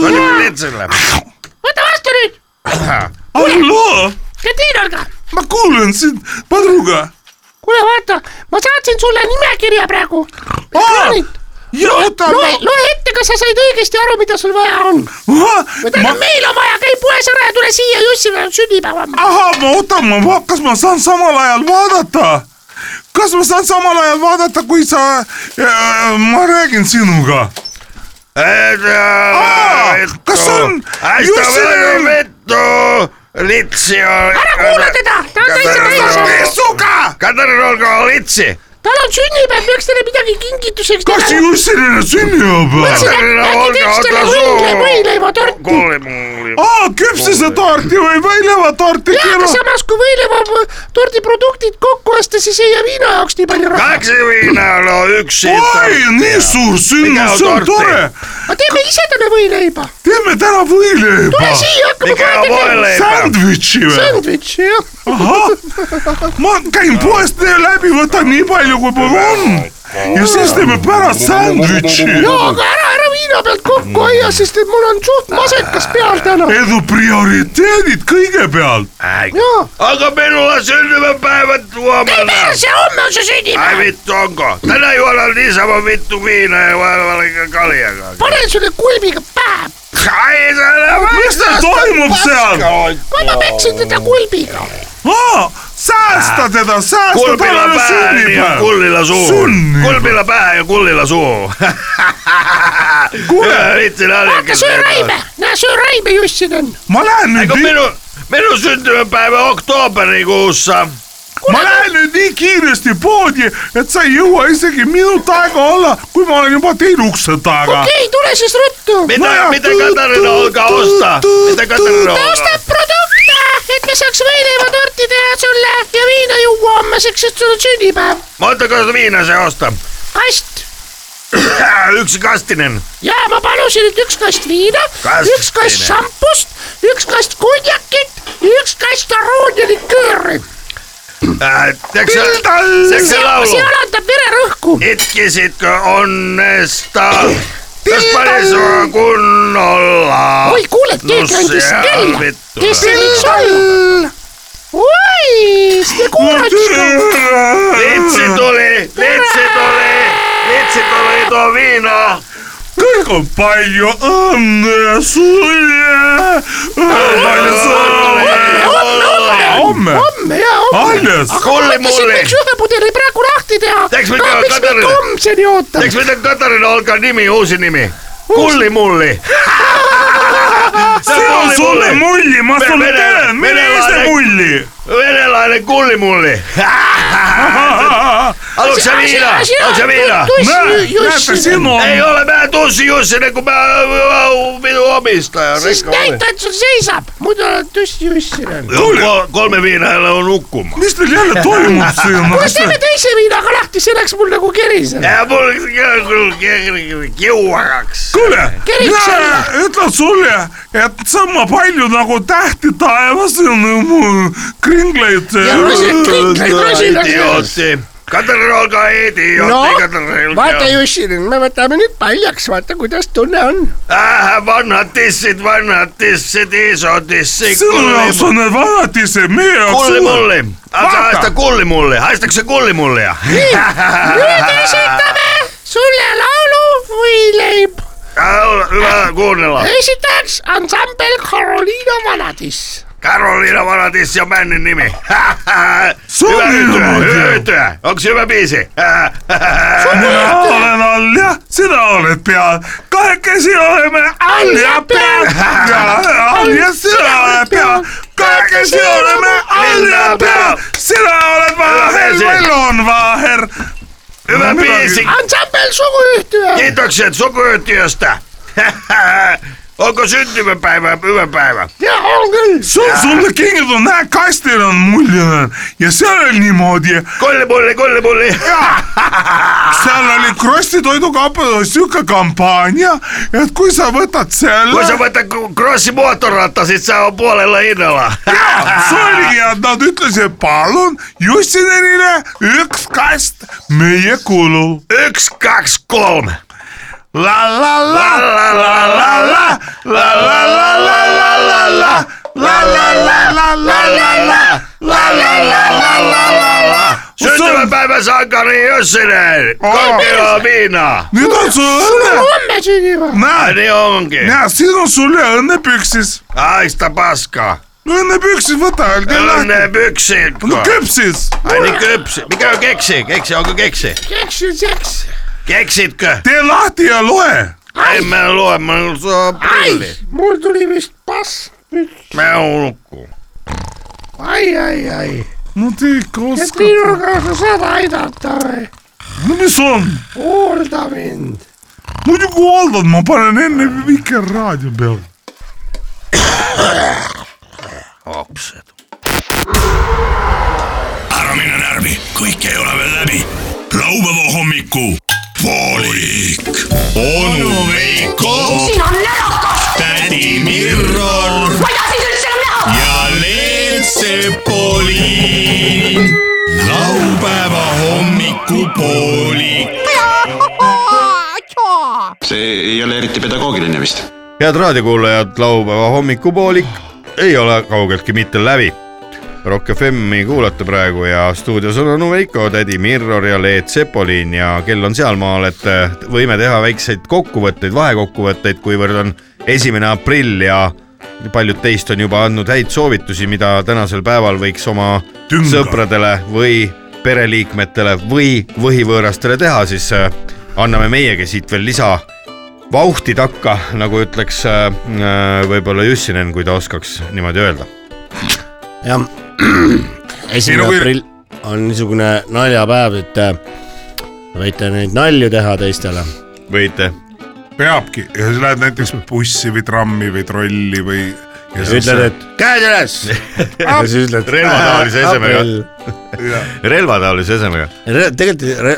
D: Soitatko Ritsille?
J: võta vastu nüüd ,
E: halloo ,
J: Katrinalga .
E: ma kuulen sind , Padruga .
J: kuule , vaata , ma saatsin sulle nimekirja praegu .
E: jaata ,
J: loe , loe ette , kas sa said õigesti aru , mida sul vaja on . tähendab , meil on vaja , käi poes ära ja tule siia , Jussile on sünnipäev homme .
E: ahah , ma ootan , ma , kas ma saan samal ajal vaadata ? kas ma saan samal ajal vaadata , kui sa äh, , ma räägin sinuga . kas on Jussinil
D: vittu! Litsi on...
J: ära kuula teda , ta on täitsa täis .
E: pesuga ?
D: Katarina, olkaa litsi!
J: tal on sünnipäev , peaks talle midagi kingituseks
E: kas Jussinil sünnipäev ?
D: Katarina,
J: äkki
D: olkaa
J: teeks talle
D: ottaa
J: võile ,
D: suu!
J: võileivatorti .
D: Kuule mulle.
E: aa , küpsisetorti või väilevatoorti
J: aga
E: keeru .
J: samas , kui võileivatordi produktid kokku osta , siis ei jää viina jaoks nii palju raha .
D: Kaksi viinaa on yksi
E: oi , nii suur
D: Mikä
E: sündmus
D: on ,
E: see on
D: tortti?
E: tore .
J: aga teeme ise talle võileiba .
E: teeme täna võileiba
J: tule . siia , hakkame
D: Mikä on
J: kohe tegema .
D: voileipä?
E: Sandwichi või ?
J: sandvitši , jah .
E: ahah , ma käin poest läbi , võtan nii palju , kui mul on ja siis teeme pärast sandwichi .
J: jaa , aga ära , ära viina pealt kokku hoia , sest et mul on suht masekas peal täna .
E: edu prioriteedid kõigepealt .
J: jaa .
D: Onko minulla syntymäpäivät huomenna?
J: perse , homme on su
D: Ai
J: sünnipäev .
D: vittu onko? Tänä juodaan niin sama vittu viinaa ja valka kaljakaan.
J: panen sulle kulmiga pähe .
D: Ai sana
E: mis teil toimub seal ?
J: ma , ma peksin teda kulmiga .
E: säästa teda , säästa
D: Kulpilla
E: tänane
D: päähän ja
E: sünnipäev .
D: kullilla suuhun.
E: Sünnipäivä.
D: Kulpilla päähän ja kullilla suuhun. Hyvä vitsi
J: hakka söö
D: naljakin.
J: raime , näe söö raime , Jussin on .
E: ma lähen nüüd
D: Eikö
E: nii ,
D: minun, minun syntymäpäivä oktooberikuussa?
E: ma lähen nüüd nii kiiresti poodi , et sa ei jõua isegi minut aega olla , kui ma olen juba teil ukse taga .
J: okei , tule siis ruttu .
D: Mitä,
E: No ja
D: mitä
E: tuut,
D: Katarina
E: tuut,
D: olkaa
E: tuut,
D: ostaa?
E: tuut,
D: Mitä Katarina
J: ta
D: olkaa?
J: ostab produkte , et me saaks võileivatorti teha sulle ja viina juua hommeseks , sest sul on sünnipäev .
D: Montako viinaa se ostaa?
J: kast
K: Äh,
D: Yksi kastinen.
J: ja ma palusin , et üks kast viina ,
D: Kastine.
J: üks kast šampust , üks kast konjakit , üks kast aroonialikööri .
D: Äh, tiedätkö sä- tiedätkö
J: see
D: sä laulu?
J: see alandab vererõhku .
D: Itkisitkö onnesta, jos pani sua kunnolla?
J: oi , kuule , keegi
D: Nussi
J: andis
D: ja
J: kella .
D: vittu.
J: kes see võiks olla ? oi , see kuulaks .
D: Litsi tuli, litsi tuli, litsi tuli tuo viina.
E: kõik on palju õnne sulle . palju sõnu . homme ,
J: homme ja homme .
E: alles .
D: Kulli
J: mõtlesin ,
D: mulli.
J: võiks ühe pudeli praegu lahti teha .
D: Teeks me ka-
J: miks me
D: Katarina.
J: homseni ootame ?
D: Eikö miten Katarina olkaa nimi, uusi nimi? Kulli mulli. Se
L: annan sulle mulli, ma sulle teen , mine ise mulli .
K: venelainen kullimulli . Haluatko sä viinaa? Onko sä viinaa?
L: näete , sinu on
K: Ei ole, mä tunsin Jussinen, kun mä, mä minun omistaja.
M: siis
K: rikka oli.
M: näita , et sul seisab , muidu oled tõesti Jussinen .
K: Kol- kolme viinaa ei ole nukkuma .
E: mis meil jälle toimub
M: kuule ,
E: siin
M: teeme ? teise viinaga lahti , see läks mul nagu kerisele .
K: ja mul käe küll ke- kiuakaks .
E: kuule ,
M: Keriks
E: mina ütlen sulle , et sama palju nagu tähti taevas on mu kringleid .
M: ja rosin , kringlaid rosinad .
K: idiootti . Katarina , olge idiootti
M: no
K: Katarina,
M: vaata , Jussinen , me võtame nüüd paljaks , vaata , kuidas tunne on .
K: Äh, vanhat tissit , vanhat tissit , iso tissi .
E: sinu jaoks on need vanad ise , meie jaoks
K: kulli
E: uued .
K: mulli , aga
E: Vaata.
K: haista kulli mulli , haistaks se kulli mullia ?
E: Niin.
M: nüüd esitame sulle laulu või leib .
K: Hyvä kuunnella .
M: esitajaks ansambel Karoliina Vanatiss .
K: Karoliina Vanatissi on bändin nimi . hyvä
E: on
K: yhtyä,
E: ilmaisia.
K: hyvä yhtyä. Onks hyvä biisi ?
E: mina olen all ja sina oled peal , kahekesi oleme all ja peal . mina olen all ja sina oled peal , kahekesi oleme all ja peal . sina oled vaher ,
K: Hyvä biisi.
E: meil on vaher .
K: hyvä
E: No, midagi.
K: biisi ,
M: ansambel Suguyhtyö .
K: kiitokset sukuyhtiöstä . Onko syntymäpäivä hyvä päivä ?
M: ja on küll .
E: sul , sulle kingitud , näe kastil on muljune ja seal oli niimoodi ,
K: Kulli mulli , kulli mulli .
E: Ja. seal oli Krossi toidukaupadel siuke kampaania , et kui sa võtad
K: Kun sä
E: selle ,
K: voitat Crossin moottorratta, sit se on puolella hinnalla .
E: see oli ja nad ütlesid , palun Jussinenile üks kast meie kulul .
K: Yksi , kaksi , kolme .
E: la la la la la la la la la la la la la la la la la la la la
K: Syntymäpäivä sankari Jyssinen. Kolme kiloa viinaa.
E: nüüd on sul õnne ,
M: homme sünnipäev .
K: Ai
E: näed ,
K: Niin onkin.
E: näed , siin on sulle õnnepüksis ,
K: Haista paskaa.
E: õnnepüksis , võta , tee
K: Onne
E: lahti ,
K: pyksin.
E: no küpsis ,
K: Ai niin kypsi. Mikä on keksi? Keksi, onko keksi?
M: keksin seks .
K: Keksitkö?
E: tee lahti ja loe .
K: En mä lue, mä oon
M: ai
K: pilli. ,
M: mul tuli vist pass nüüd .
K: Mä oon nukku.
M: ai , ai , ai .
E: no te ikka
M: et
E: oskate ,
M: minuga sa saad aidata või ?
E: no mis on ,
M: hoolda mind .
E: muidugi hooldad , ma panen enne Vikerraadio peale .
L: ära mine närvi , kõik ei ole veel läbi . laupäeva hommiku poolik .
A: onu Veiko ,
J: sina närakas ,
A: tädi Mirror
J: ma ei taha sind üldse enam näha .
A: ja Leelsepoliin . laupäeva hommikupooli .
I: see ei ole eriti pedagoogiline vist .
D: head raadiokuulajad , laupäeva hommikupoolik ei ole kaugeltki mitte läbi . Rock FM-i kuulate praegu ja stuudios on onu Veiko , tädi Mirror ja Leet Sepolin ja kell on sealmaal , et võime teha väikseid kokkuvõtteid , vahekokkuvõtteid , kuivõrd on esimene aprill ja paljud teist on juba andnud häid soovitusi , mida tänasel päeval võiks oma Tünga. sõpradele või pereliikmetele või võhivõõrastele teha , siis äh, anname meiegi siit veel lisa vauhti takka , nagu ütleks äh, äh, võib-olla Jussinen , kui ta oskaks niimoodi öelda .
F: jah , esimene
E: Ei, no kui-
F: aprill on niisugune naljapäev , et äh, võite neid nalju teha teistele .
D: võite ,
E: peabki ja siis lähed näiteks bussi või trammi või trolli või .
F: ütled , et käed üles . ja siis ütled
D: relvataolise esemega , relvataolise esemega .
F: Re- , tegelikult re, ,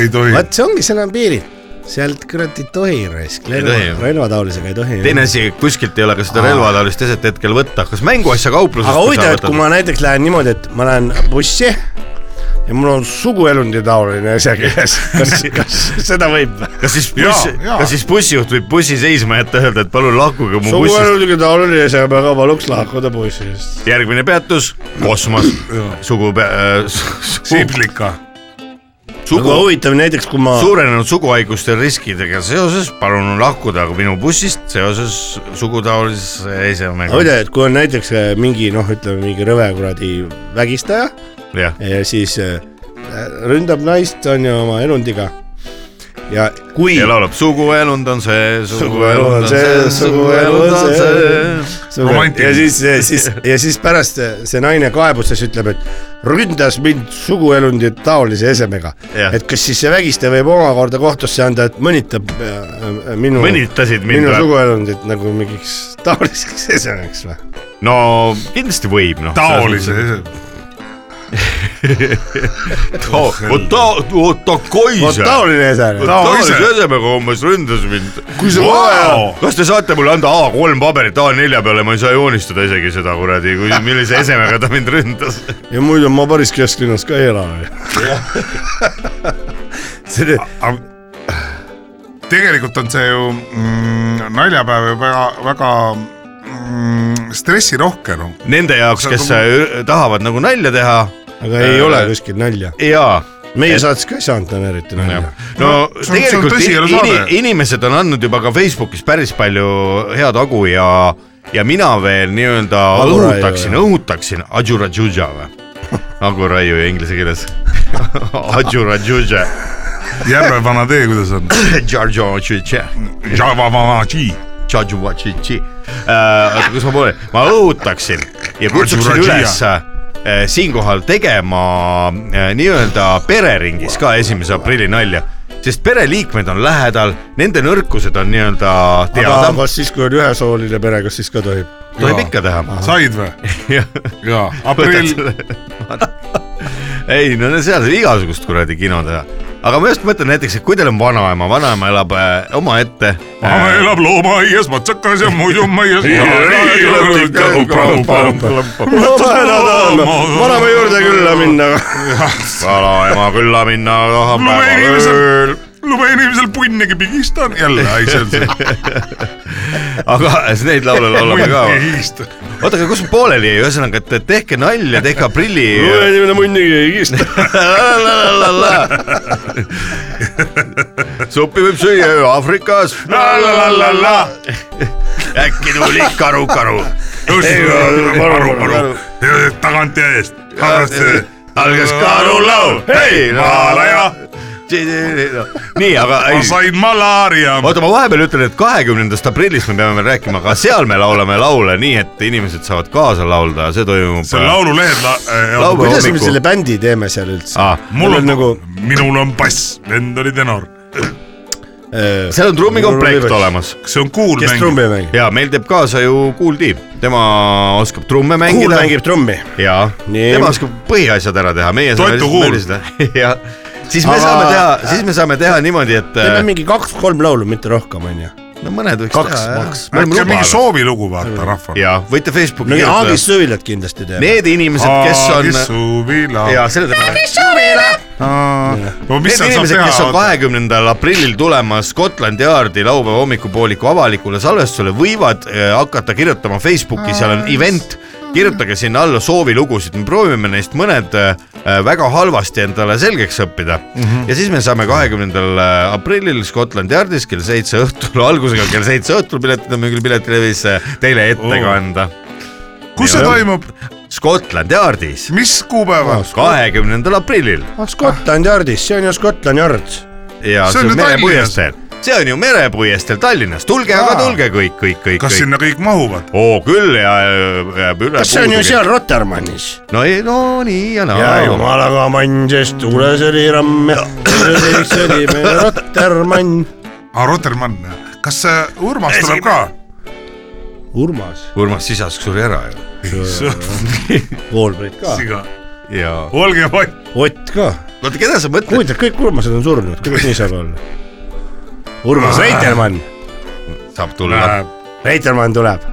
E: ei tohi .
F: vaat see ongi , seal on piirid , sealt kurat ei tohi raisk ,
D: tohi, jah.
F: relvataolisega ei tohi .
D: teine asi , kuskilt ei ole ka seda relvataolist eset hetkel võtta , kas mänguasja kauplusest .
F: aga huvitav , et kui ma näiteks lähen niimoodi , et ma lähen bussi ja mul on suguelundi taoline ese käes , kas , kas seda võib ?
D: kas siis buss ,
E: Jaa, jaa.
D: kas siis bussijuht võib bussi seisma jätta , öelda , et palun lahkuge mu bussist .
F: suguelundiga taoline ese , ma ka paluks lahkuda bussist .
D: järgmine peatus , kosmos , sugu , sugu ,
E: Siblika .
F: aga
D: sugu ,
F: huvitav näiteks , kui ma
D: suurenenud suguhaiguste riskidega seoses palun lahkuda minu bussist seoses sugutaolise
F: aga
D: esemega .
F: huvitav , et kui on näiteks äh, mingi noh , ütleme mingi rõve kuradi vägistaja
D: jah ,
F: ja siis äh, ründab naist , on ju , oma elundiga . ja kui .
D: ja laulab Suguelund on see ,
F: suguelu on see , suguelu on see . ja siis , siis ja siis pärast see naine kaebustes ütleb , et ründas mind suguelundit taolise esemega .
D: Jah.
F: et kas siis see vägistaja võib omakorda kohtusse anda , et mõnitab äh, minu .
D: Mõnitasid mind
F: minu
D: või?
F: suguelundit nagu mingiks taoliseks esemeks või ?
D: no kindlasti võib noh .
E: taolise .
D: vot ta , vot takoi
F: vot taoline esene .
D: taolise esemega umbes ründas mind .
F: Kui sa-
D: Vau! kas te saate mulle anda A3 paberit A4 peale , ma ei saa joonistada isegi seda kuradi , kui millise esemega ta mind ründas .
F: ja muidu ma päris kesklinnas ka ei ela . see
E: tegelikult on see ju mm, naljapäev ju väga , väga mm, stressirohke noh .
D: Nende jaoks , kes äh, tahavad nagu nalja teha
F: aga
D: Äh.
F: ei ole kuskil nalja .
D: jaa
F: meie saates ka ei saanud täna eriti nalja .
D: no
E: No, see on-
D: tegelikult
E: see
D: in,
E: on tõsielu
D: in,
E: saade.
D: inimesed on andnud juba ka Facebookis päris palju head agu ja , ja mina veel nii-öelda
F: Aguraiu,
D: õhutaksin ,
F: jah.
D: õhutaksin Ajurajuja või Aguraiu inglise keeles Ajurajuja .
E: järve vana tee , kuidas on ? Java vana tšii .
D: Äh, oota , kus ma poole , ma õhutaksin ja kutsuksin
E: Ajurajuja.
D: üles äh, siinkohal tegema äh, nii-öelda pereringis ka esimese aprilli nalja , sest pereliikmed on lähedal , nende nõrkused on nii-öelda
F: aga
D: teada .
F: kas siis , kui on ühesooline pere , kas siis ka tohib ?
D: tohib ikka teha .
E: said või ? jaa , aprill ,
D: ei , no seal saab igasugust kuradi kino teha , aga ma just mõtlen näiteks , et kui teil on vanaema , vanaema elab äh, omaette . Äh,
E: vana elab loomaaias , matsakas ja muidu maias .
F: vanema juurde külla minna .
D: vanaema külla minna tahab
E: Lube inimesel-
D: päeval .
E: lube inimesel punnigi pigistan jälle , ei see on see .
D: aga neid laule laulame ka .
E: pigistan .
D: oota , aga kus me pooleli jäi , ühesõnaga , et tehke nalja , tehke aprilli .
F: inimene muidugi ei kista .
D: suppi võib süüa ju Aafrikas . äkki tuli karu-karu .
E: aru , aru , tagantjärele eest , tagantjärele .
D: algas karulaul , hei ,
E: maalaja ,
D: nii , aga
E: ma
D: ei ,
E: sain malaaria .
D: oota , ma vahepeal ütlen , et kahekümnendast aprillist me peame veel rääkima , aga seal me laulame laule nii , et inimesed saavad kaasa laulda , see toimub . äh,
E: see on laululehed la-
D: Laulu-
E: äh, .
F: kuidas me selle bändi teeme seal üldse ?
D: Ah,
E: mul on
F: nagu
E: nagu ,, minul on bass , vend oli tenor .
D: seal on trummikomplekt olemas
E: kas see on
F: Äh, kes
E: kuulmäng ?
F: trummi mängib ?
D: ja meil teeb kaasa ju Kool Tiim , tema oskab trumme
F: kuul
D: mängida .
F: mängib Äh. trummi .
D: ja
F: Nii.
D: tema oskab põhiasjad ära teha , meie saame
E: Toitu
D: lihtsalt möliseda . ja siis me
F: Aga-
D: saame teha , siis me saame teha niimoodi ,
F: teeme
D: et äh,
F: mingi kaks-kolm laulu , mitte rohkem , onju .
D: no mõned võiks
F: kaks,
D: teha
F: kaks. .
E: äkki on mingi soovilugu vaata rahval .
D: ja võite Facebooki
F: mingi Aagis
D: kirjutada .
F: Suvilat kindlasti teeme .
D: Need inimesed , kes on
E: suvila .
D: ja selle teeme .
E: mis
D: Need
E: seal saab
D: inimesed , kes on
E: teha ?
D: kahekümnendal aprillil tulemas Scotland Yardi laupäeva hommikupooliku avalikule salvestusele , võivad eh, hakata kirjutama Facebooki , seal on event , kirjutage sinna alla soovilugusid , me proovime neist mõned eh, väga halvasti endale selgeks õppida mm . -hmm. ja siis me saame kahekümnendal eh, aprillil Scotland Yardis kell seitse õhtul , algusega kell seitse õhtul piletid on müügil Piletilevis eh, teile ette
E: Oh.
D: kanda .
E: kus see toimub ,
D: Scotland Yardis ,
E: mis kuupäeval ?
D: kahekümnendal aprillil
F: Ah, Scotland Yardis , see on ju Scotland Yard .
D: ja
E: See
D: see
E: on
D: on
E: ju
D: merepuiesteel , see on ju merepuiesteel Tallinnas , tulge aga tulge kõik , kõik , kõik ,
E: kas
D: kõik .
E: sinna kõik mahuvad ?
D: oo küll ja ja jääb üle .
F: kas see on ju ? seal Rotermannis ?
D: no ei , no nii ja naa .
F: ja jumalaga mann , sest tuules oli ramm ja selliseks oli meil Rotermann .
E: aa , Rotermann , kas see Urmas tuleb ka ?
F: Urmas ,
D: Urmas Sisask suri ära ju .
F: Volbrit ka ,
D: ja
E: olge vait .
F: Ott ka .
D: oota , keda sa mõtled ?
F: huvitav , kõik Urmased on surnud , kuidas nii saab olla ? Urmas Reitelmann ,
D: saab tulla .
F: Reitelmann tuleb ,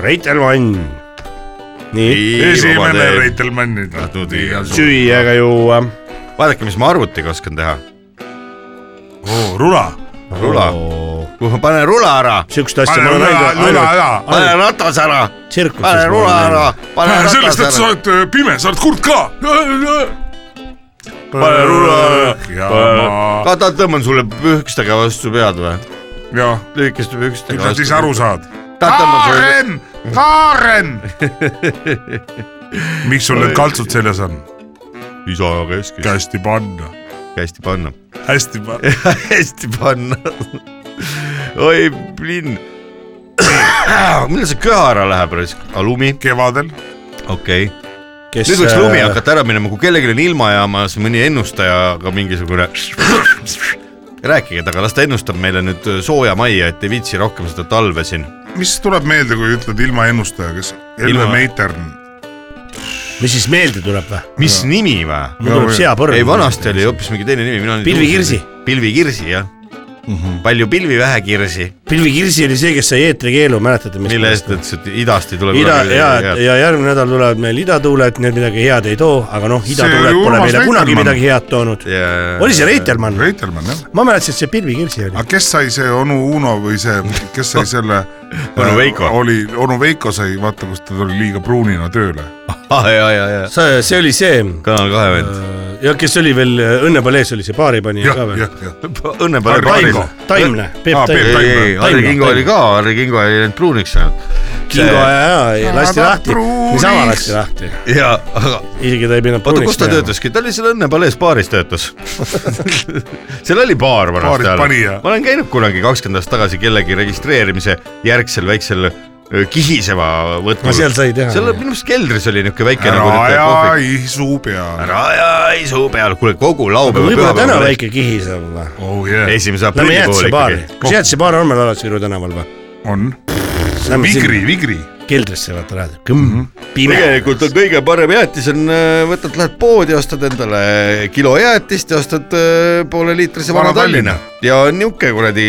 F: Reitelmann . nii ,
E: esimene . Reitelmann nüüd .
D: Tahtnud iga-
F: süüaga juua .
D: vaadake , mis ma arvutiga oskan teha .
E: Oh, rula .
D: rula , kuhu ma panen rula ära ,
F: sihukest asja
E: pane
F: ma olen
E: rula ,
F: näinud
E: rula
F: ainult
E: ära .
D: panen ratas ära ,
F: tsirkuses .
D: panen rula ära , panen ratas
E: sellest , et sa
D: ära ,
E: oled öö, pime , sa oled kurt ka .
D: panen rula ära ,
E: ja ,
D: vaata , tõmban sulle pühkstega vastu pead või ,
E: ja ,
D: lühikeste pühkstega
E: nüüd nad siis aru saavad .
D: Tahad tõmbad sulle-
E: Kaaren , Kaaren . miks sul need kaltsud seljas on ?
D: isa keskis .
E: kästi panna .
D: hästi panna .
E: hästi panna .
D: hästi panna . oi , plinn . millal see köha ära läheb raisk , aga Ah, lumi ?
E: kevadel .
D: okei okay. .
F: Kes,
D: nüüd võiks lumi
F: äh,
D: hakata ära minema , kui kellelgi on ilmajaamas mõni ennustajaga mingisugune . rääkige temaga , las ta ennustab meile nüüd äh, sooja majja , et ei viitsi rohkem seda talve siin .
E: mis tuleb meelde , kui ütled ilmaennustaja , kes ? Helve
D: Ilma-
E: Meitern .
F: mis siis meelde tuleb või ?
D: mis ja. nimi vä ?
F: Mul tuleb seapõrm
D: ei , vanasti oli hoopis mingi teine nimi , mina .
F: Pilvikirsi. .
D: pilvikirsi jah mm . -hmm. palju pilvi , vähe kirsi .
F: Pilvi Kirsi oli see , kes sai eetrikeelu , mäletate ?
D: mille eest ütles , et idast ei tule .
F: ida ja , ja järgmine nädal tulevad meil idatuuled , need midagi head ei too , aga noh , idatuuled
E: oli
F: pole
E: Urmas
F: meile kunagi
E: Reitelmann.
F: midagi head toonud . oli see Reitelmann ?
E: Reitelmann jah .
F: ma mäletasin , et see Pilvi Kirsi oli .
E: aga kes sai see onu Uno või see , kes sai selle äh,
D: Onu Veiko.
E: oli , onu Veiko sai , vaata kus ta tuli liiga pruunina tööle .
D: ja , ja , ja , ja .
F: see , see oli see
D: Kanal kahe vend .
F: ja kes oli veel äh, Õnne palees oli see baaripanija
E: jah
F: ka , veel
E: jah ,. jah .
D: õnne palju
F: Taimla , Taimla ,
D: Ah,
E: Aa,
F: Peep
E: Peep
D: ei ,
F: Taimla .
D: ei , ei , Harri
F: Taimla,
D: Kingo oli
F: Taimla.
D: ka , Harri Kingo ei läinud pruuniks ainult .
F: kingo ja , ja lasti
E: Aga
F: lahti ,
E: pruuniks.
F: niisama lasti lahti ,
D: ja , aga
F: isegi ta ei pidanud
D: oota , kus
F: pruuniks
D: ta . töötaski , ta oli seal Õnne palees baaris töötas . seal oli baar
E: Baaris
D: vanasti
E: pani, jah.
D: ma olen käinud kunagi kakskümmend aastat tagasi kellegi registreerimise järgsel väiksel öö, kihiseva võtma .
F: No seal sai teha,
D: seal
F: jah.
D: minu arust keldris oli niuke väike nagu
E: ära
D: niuke
E: aja
D: kohvik .
E: isu peale .
D: ära aja isu peale , kuule kogu laupäeva .
F: võib-olla täna väike kihis on või ?
E: oh yeah ,
D: esimese
F: Lähme
D: aprilli pool
F: jäätisebaari
D: ikkagi .,
F: kas jäätisebaar on meil alles Viru tänaval või ?
E: on .
F: Lähme
E: Vigri ,
F: sinna
E: Vigri .
F: keldrisse vaata lähed , kõmm , pime .
D: Mhm. tegelikult on kõige parem jäätis on , võtad , lähed poodi , ostad endale kilo jäätist ja ostad öö, pooleliitrise
E: Vana
D: Vana Tallinna ja on niuke kuradi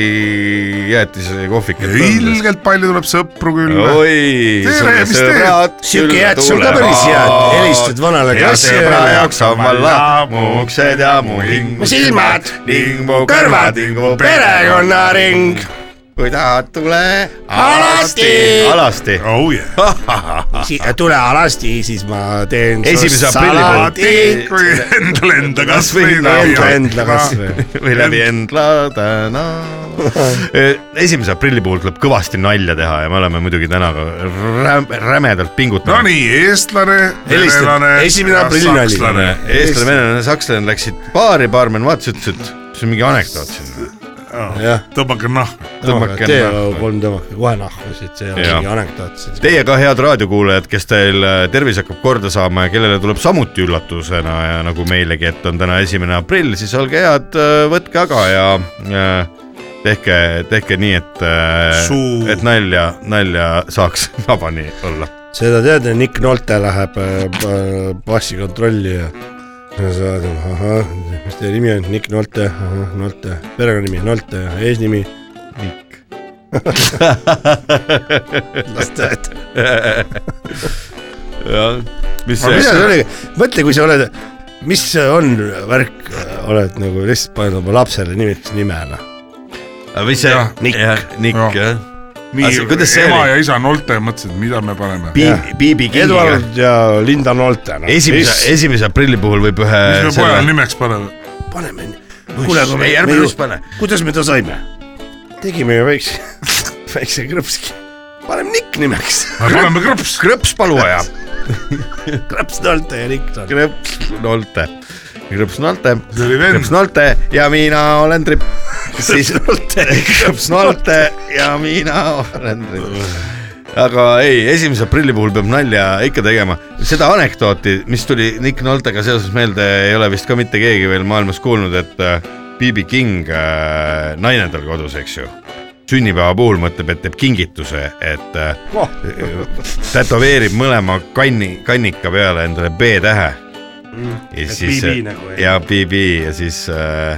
D: jäätise kohvik .
E: ilgelt palju tuleb sõpru külla .
D: oi ,
E: Tere, mis teed?
F: sihuke jäätis on ka päris hea , et helistad vanale
D: ja
F: klassile
D: sõbra
F: ja
D: jaoks on mul laab , mu uksed ja mu hing , mu
F: silmad,
D: ning mu
F: kõrvad,
D: ning mu
F: perekonnaring .
D: kui tahad , tule
F: Alasti!
D: alasti .
E: oh yeah .
F: tule alasti , siis ma teen .
D: Esimese aprilli pool.
E: kui endal enda kasvõi
D: Endla-
F: Endla , Endla kasvõi .
D: või läbi Endla täna . esimese aprilli puhul tuleb kõvasti nalja teha ja me oleme muidugi täna ka räm- rämedalt pingutanud .
E: Nonii , eestlane ,
F: Helistad.
E: venelane .
F: Esimene aprilli nali.
D: eestlane , venelane , sakslane läksid baari , baarmen vaatas , ütles , et see on mingi anekdoot siin .
F: jah ,
E: tõmmake nahku .
D: tõmmake
F: tee
D: nahku.
F: kolm tõmmake kohe nahku , siit see on
D: Jaa.
F: mingi anekdoot .
D: Teie ka , head raadiokuulajad , kes teil äh, tervis hakkab korda saama ja kellele tuleb samuti üllatusena ja nagu meilegi , et on täna esimene aprill , siis olge head , võtke aga ja äh, tehke , tehke nii , et ,
E: Suu-
D: et nalja , nalja saaks vabani olla .
F: seda tead , Nick Nolte läheb äh, pa- passikontrolli ja ja sa oled , ahah , mis teie nimi on , Nick Nolte , ahah , Nolte , perekonnanimi Nolte , eesnimi Nick . las ta , et
D: jah , mis
F: aga mida see
D: see ,
F: oli , mõtle , kui sa oled , mis see on värk , oled nagu lihtsalt paned oma lapsele nimetusnimena .
D: mis see
E: Jah, ,
D: Nick ,
E: Jah.
D: Nick jah , Aga
E: nii
D: see- , kuidas see
E: ema
D: oli?
E: ja isa Nolte mõtlesid , mida me paneme .
D: Piibi , Piibi Kingiga .
F: Eduard ja Linda Nolte noh. no. .
D: esimese , esimese aprilli puhul võib ühe .
E: mis me pojale nimeks paneme ?
F: paneme , kuule , aga me
D: Ei, ärme just pane. ,
F: kuidas me ta saime ? tegime ju väikse , väikse krõpski , paneme Nick nimeks ,
E: paneme krõps .
D: krõps paluaja
F: krõps Nolte ja Nick Nolte .
D: krõps Nolte , krõps Nolte ,
E: See oli vend.
D: krõps Nolte ja mina olen tripp . siis krõps Nolte ja mina olen tripp . aga ei , esimese aprilli puhul peab nalja ikka tegema , seda anekdooti , mis tuli Nick Noltega seoses meelde , ei ole vist ka mitte keegi veel maailmas kuulnud , et äh, B.B. King , naine tal kodus , eks ju sünnipäeva puhul mõtleb , et teeb kingituse , et äh,
F: Oh.
D: tätoveerib mõlema kanni , kannika peale endale B-tähe
F: Mm.
D: ja siis äh,
F: BB nagu, jah.
D: ja BB ja siis äh,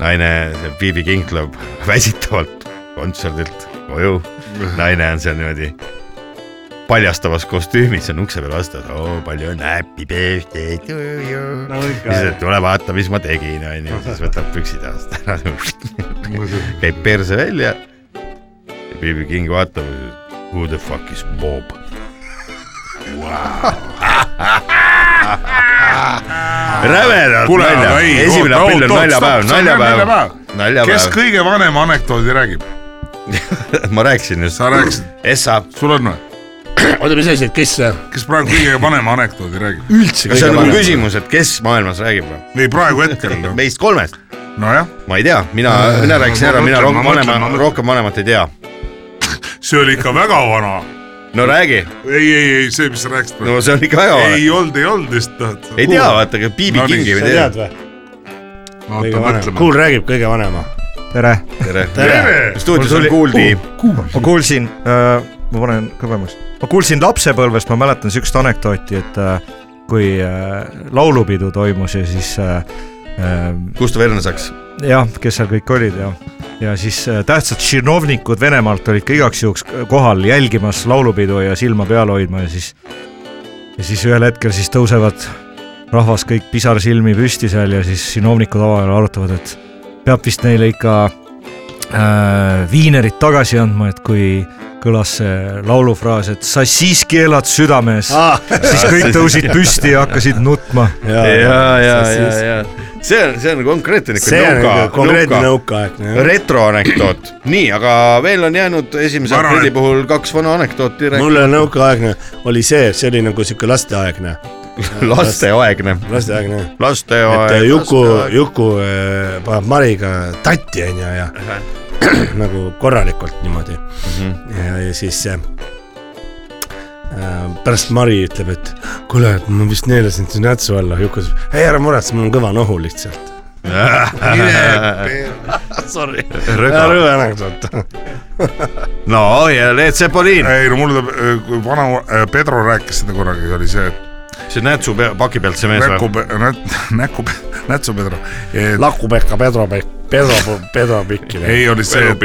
D: naine , see BB King tuleb väsitavalt kontserdilt koju . naine on seal niimoodi paljastavas kostüümis on ukse peal vastas , oo palju õnne , happy birthday to you . siis , et tule vaata , mis ma tegin , onju , siis võtab püksid jalast ära , käib perse välja . BB King vaatab , who the fuck is Bob rävedalt
E: Kuule,
D: noh, nalja
E: aga , ei,
D: esimene
E: oota,
D: aprill on
E: oota,
D: naljapäev ,
E: stopp, see on
D: naljapäev
E: naljapäev. , kes
D: naljapäev ,
E: kõige vanema anekdoodi räägib ?
D: ma rääkisin just .
E: sa rääkisid ,
D: Essa ,
E: sul on või ?
F: oota , mis asi , et kes see
E: kes praegu kõige vanema anekdoodi räägib ?
F: üldse
D: kas see on nagu ? küsimus , et kes maailmas räägib või ?
E: ei , praegu hetkel .
D: meist kolmest .
E: nojah ,
D: ma ei tea , mina , mina
E: Ma
D: rääkisin ära , mina
E: mõtlen,
D: rohkem
E: ma mõtlen, ma
D: vanema ,
E: mõtlen.
D: rohkem vanemat ei tea .
E: see oli ikka väga vana .
D: no räägi ,
E: ei , ei , ei see , mis sa rääkisid .
D: no see on ikka väga vana .
E: ei olnud , ei olnud vist noh. tahad .
D: ei tea , vaata , aga Piibi
E: No nii,
D: kingi
E: sa
D: või tead .
F: tead või ?
E: oota , mõtleme .
F: kuul räägib kõige vanema .
N: tere .
D: tere,
E: Tere!
D: stuudios on Kuuldi .
N: ma kuulsin äh, , ma panen kõvemaks , ma kuulsin lapsepõlvest , ma mäletan siukest anekdooti , et äh, kui äh, laulupidu toimus ja siis äh, äh,
D: Gustav Ernesaks .
N: jah , kes seal kõik olid ja , ja siis äh, tähtsad šinovnikud Venemaalt olid ka igaks juhuks kohal jälgimas laulupidu ja silma peal hoidma ja siis , ja siis ühel hetkel siis tõusevad rahvas kõik pisarsilmi püsti seal ja siis šinovnikud omavahel arutavad , et peab vist neile ikka äh, viinerid tagasi andma , et kui kõlas see laulufraas , et sa siiski elad südames
F: Ah.
N: ah. , siis kõik tõusid püsti ja hakkasid nutma .
D: ja , ja , ja , ja , ja see on , see on konkreetne .
F: see on nagu konkreetne . nõukaaegne jah.
D: retroanekdoot , nii , aga veel on jäänud esimese
E: Ma arvan,
D: aprilli
E: et-
D: puhul kaks vana anekdooti rääkida .
F: mulle nõukaaegne oli see , see oli nagu sihuke lasteaegne ,
D: lasteaegne ,
F: lasteaegne et äh,
D: lasteaeg .
F: Juku , Juku äh, paneb Mariga tatti onju ja nagu korralikult niimoodi mm . -hmm. ja , ja siis äh, äh, pärast Mari ütleb , et kuule , et ma vist neelasin su nätsu alla , Juku ütleb , ei ära muretse , mul on kõva nohu lihtsalt . Sorry , rõve anekdoot .
D: no ja Leet Sepolin ,
E: ei no mul tuleb , kui vana äh, Pedro rääkis seda kunagi , oli see , et
D: see nätsu pea , paki pealt see mees
E: näku
D: või ?,
E: näku , nätsu Pedro .
F: Laku-Pekka Pedro , Pedro , Pedro Pikkile .
E: ei , oli see , et ,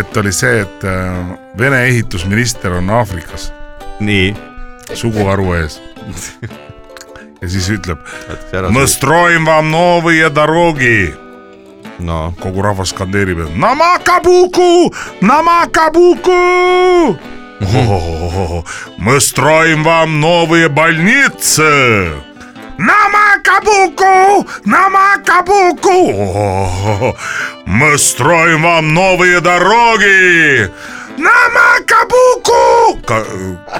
E: et oli see , et äh, Vene ehitusminister on Aafrikas
D: nii .
E: suguharu ees . ja siis ütleb , ma stroin vam novõje dorogi .
D: no
E: kogu rahvas skandeerib , et namakabuku , namakabuku . ma stroin vam novõje bolnitse . Намакабуку! Намакабуку! Мы строим вам новые дороги! Намакабуку! Ka-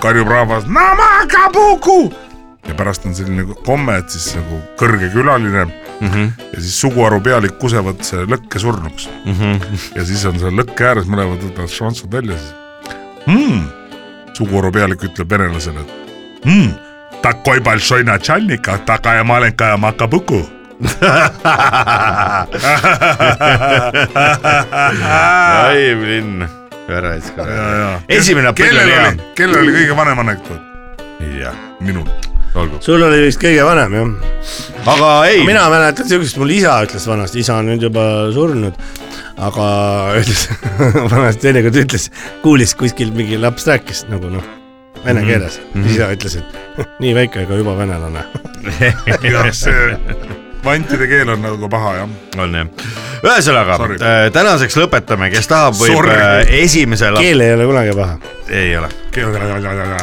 E: karjub rahvas , Namakabuku . ja pärast on selline komme , et siis nagu kõrge külaline mm
D: Mhm.
E: -hmm. ja siis suguharu pealik kusevad see lõkke surnuks mm .
D: Mhm.
E: -hmm. ja siis on seal lõkke ääres mõlemad võtavad šansud välja siis mm. . suguharu pealik ütleb venelasele , et mm. такой большой начальник , а такая маленькая макабуку
D: ai linn , ära siis ka . Esimene aprill
E: kellel
D: oli hea.
E: oli , kellel oli kõige vanem anekdoot ?
D: jah ,
E: minul .
D: olgu ,
F: sul oli vist kõige vanem jah ?
D: aga ei ,
F: mina mäletan siukest , mul isa ütles vanasti , isa on nüüd juba surnud , aga ütles vanasti teinekord ütles , kuulis kuskil mingi laps rääkis nagu noh , vene
D: Mhm.
F: keeles mm , -hmm. isa ütles , et nii väike , aga juba venelane .
E: jah , see vantide keel on nagu paha jah .
D: on jah . ühesõnaga äh,
E: Sorry. ,
D: tänaseks lõpetame , kes tahab , võib
E: Sorry.
D: äh, esimesel ,
F: keel ei ole kunagi paha .
D: ei ole .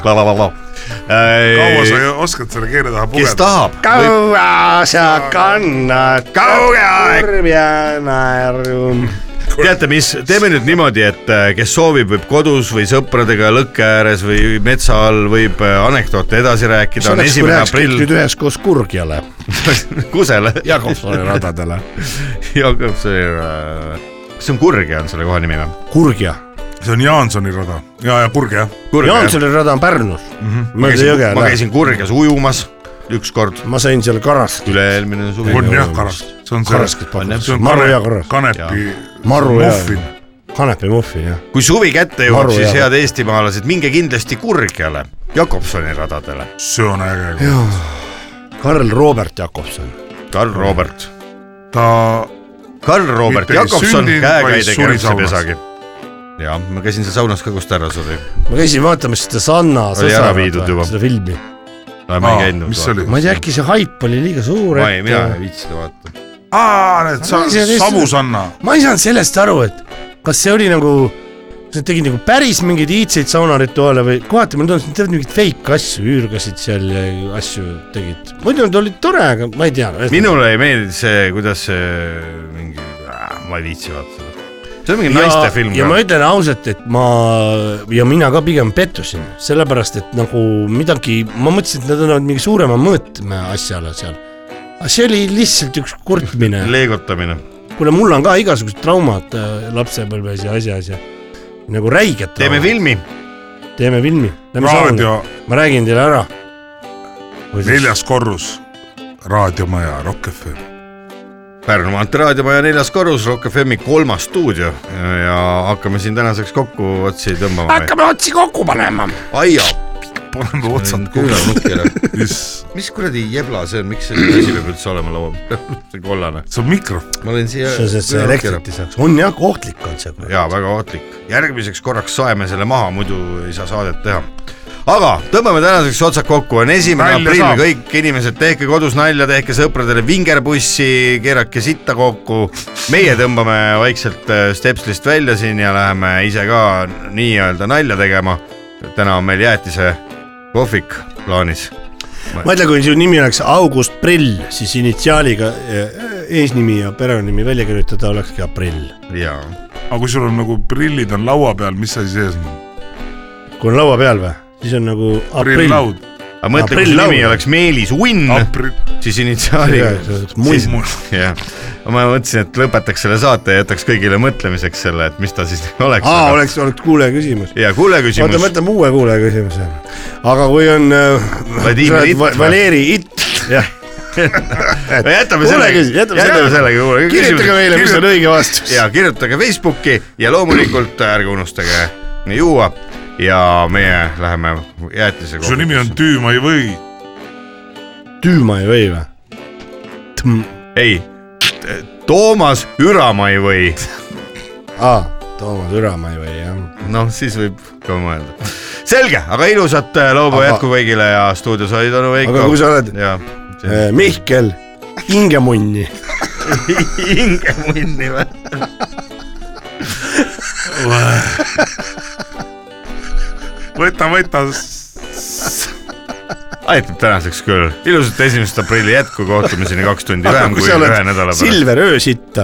E: kaua
D: Äh,
E: sa
D: kaua
E: oskad selle keele taha
D: kes
E: pugeda ?
D: tahab ,
F: kaua sa kannad kurb ja naerum .
D: teate mis , teeme nüüd niimoodi , et äh, kes soovib , võib kodus või sõpradega lõkke ääres või metsa all võib äh, anekdoote edasi rääkida , on esimene aprill ,
F: nüüd üheskoos Kurgjale ,
D: kusele .
F: Jakobsoni radadele .
D: Jakob , see on , kas see on Kurge on selle koha nimi või ?
F: Kurgja ,
E: see on Jaansoni rada ja , ja Kurge jah .
F: Jaansoni rada on Pärnus mööda jõge
D: Mhm. ma . käisin Kurges ujumas ükskord ,
F: ma sain seal karast ,
D: üle-eelmine suvi .
E: on jah karas , see on see
F: karaskat , pakkus
E: see , on
F: maru hea
E: kane,
F: karas ,
E: kanepi
F: Maru hea.
E: muffin .
F: kanepimuffin jah .
D: kui suvi kätte jõuab
F: Maru ,
D: siis
F: hea.
D: head eestimaalased , minge kindlasti Kurgjale , Jakobsoni radadele .
E: see on äge .
F: Karl Robert Jakobson .
D: Karl Robert ,
E: ta ,
D: Karl Robert
E: Mitte ei
D: Jakobson ,
E: sündinud, vaid
D: käekäide
E: suri
D: kärbsepesagi . ja ma käisin seal saunas ka , kus ta ära suri .
F: ma käisin vaatamas seda Sanna
D: ära viidud juba.
F: seda filmi .
D: ma ei käinud .
E: mis see oli ?
F: ma ei tea , äkki see haip oli liiga suur ,
D: ma ei ,
F: et äh,
D: mina ei viitsinud vaadata .
E: aa , need sa,
F: Ma ei tea, kes-
E: Sabusanna ,
F: ma ei saanud sellest aru , et kas see oli nagu , kas nad tegid nagu päris mingeid iidseid saunarituaale või kohati mulle tundus , et nad teevad mingeid fake asju , üürgasid seal ja asju tegid . muidu nad olid tore , aga ma ei tea .
D: minule ei meeldi see , kuidas see mingi , ma ei viitsi vaadata . see on mingi naiste film
F: ja ma
D: ka .
F: ütlen ausalt , et ma ja mina ka pigem pettusin , sellepärast et nagu midagi , ma mõtlesin , et nad annavad mingi suurema mõõtme asjale seal .
O: see oli lihtsalt üks kurtmine .
D: leegutamine .
O: kuule , mul on ka igasugused traumad äh, lapsepõlves ja asjas ja nagu räiged .
D: Teeme filmi .
O: teeme filmi .
E: Raadio-
O: ma räägin teile ära .
E: neljas korrus , raadiomaja Rock FM .
D: Pärnu maantee raadiomaja neljas korrus , Rock FM-i kolmas stuudio ja- ja hakkame siin tänaseks kokku otsi tõmbama .
P: hakkame otsi kokku panema .
D: aia ,
E: paneme otsad
D: küünarnukkile .
E: Mis-
D: mis kuradi jebla see on , miks selline asi peab üldse olema laua peal , see kollane .
E: see on mikro .
D: ma olin siia .
F: see , see , see elektrit ei saaks , on jah , ohtlik on see .
D: jaa , väga ohtlik . järgmiseks korraks saeme selle maha , muidu ei saa saadet teha . aga tõmbame tänaseks otsad kokku , on esimene
E: Nalja
D: aprill ,
E: saab.
D: kõik inimesed , tehke kodus nalja , tehke sõpradele vingerpussi , keerake sitta kokku . meie tõmbame vaikselt äh, stepslist välja siin ja läheme ise ka nii-öelda nalja tegema . täna on meil jäätise kohvik plaanis .
F: mõtle , kui su nimi oleks August Prill , siis initsiaaliga eh, eesnimi ja perenimi välja kirjutada olekski aprill .
D: jaa .
E: aga kui sul on nagu prillid on laua peal , mis asi sees on ?
F: kui on laua peal või , siis on nagu aprill .
E: Prilllaud.
D: aga mõtle , kui su nimi oleks Meelis Unn , siis initsiaaliga
F: See- see oleks munn.
D: jah , ma mõtlesin , et lõpetaks selle saate ja jätaks kõigile mõtlemiseks selle , et mis ta siis oleks .
F: aa , oleks , oleks kuulaja küsimus .
D: ja kuule
F: oota ,
D: küsimus ,
F: mõtleme uue kuulaja küsimuse . aga kui on äh,
D: Vladimir
F: sa oled
D: Itt
F: Va-
D: või?
F: Valeri Itt . jah .
D: jätame sellega- jätame sellega kuulaja küsimuse.
F: kirjutage meile , mis on
D: Kirjut-
F: õige vastus .
D: ja kirjutage Facebooki ja loomulikult ärge unustage juua ja meie läheme jäätise
E: su nimi on Tüüma ei või .
F: Tüüma ei või või ?
D: ei , Toomas Üramai või ,
F: aa , Toomas Üramai või jah .
D: noh , siis võib ka mõelda . selge , aga ilusat äh, laupäeva
F: Aga-
D: jätku kõigile ja stuudios olid onu Veiko .
F: aga kui sa oled
D: ja
F: eh, Mihkel Hingemunni .
D: hingemunni või ?
E: võta , võta .
D: aitab tänaseks küll , ilusat esimest aprilli jätku , kohtumiseni kaks tundi vähem kui ühe nädala pärast .
F: Silver öösitta .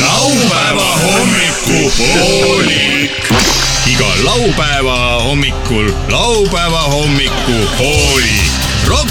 A: laupäeva hommikupoolik . iga laupäeva hommikul laupäeva hommikupoolik . Rock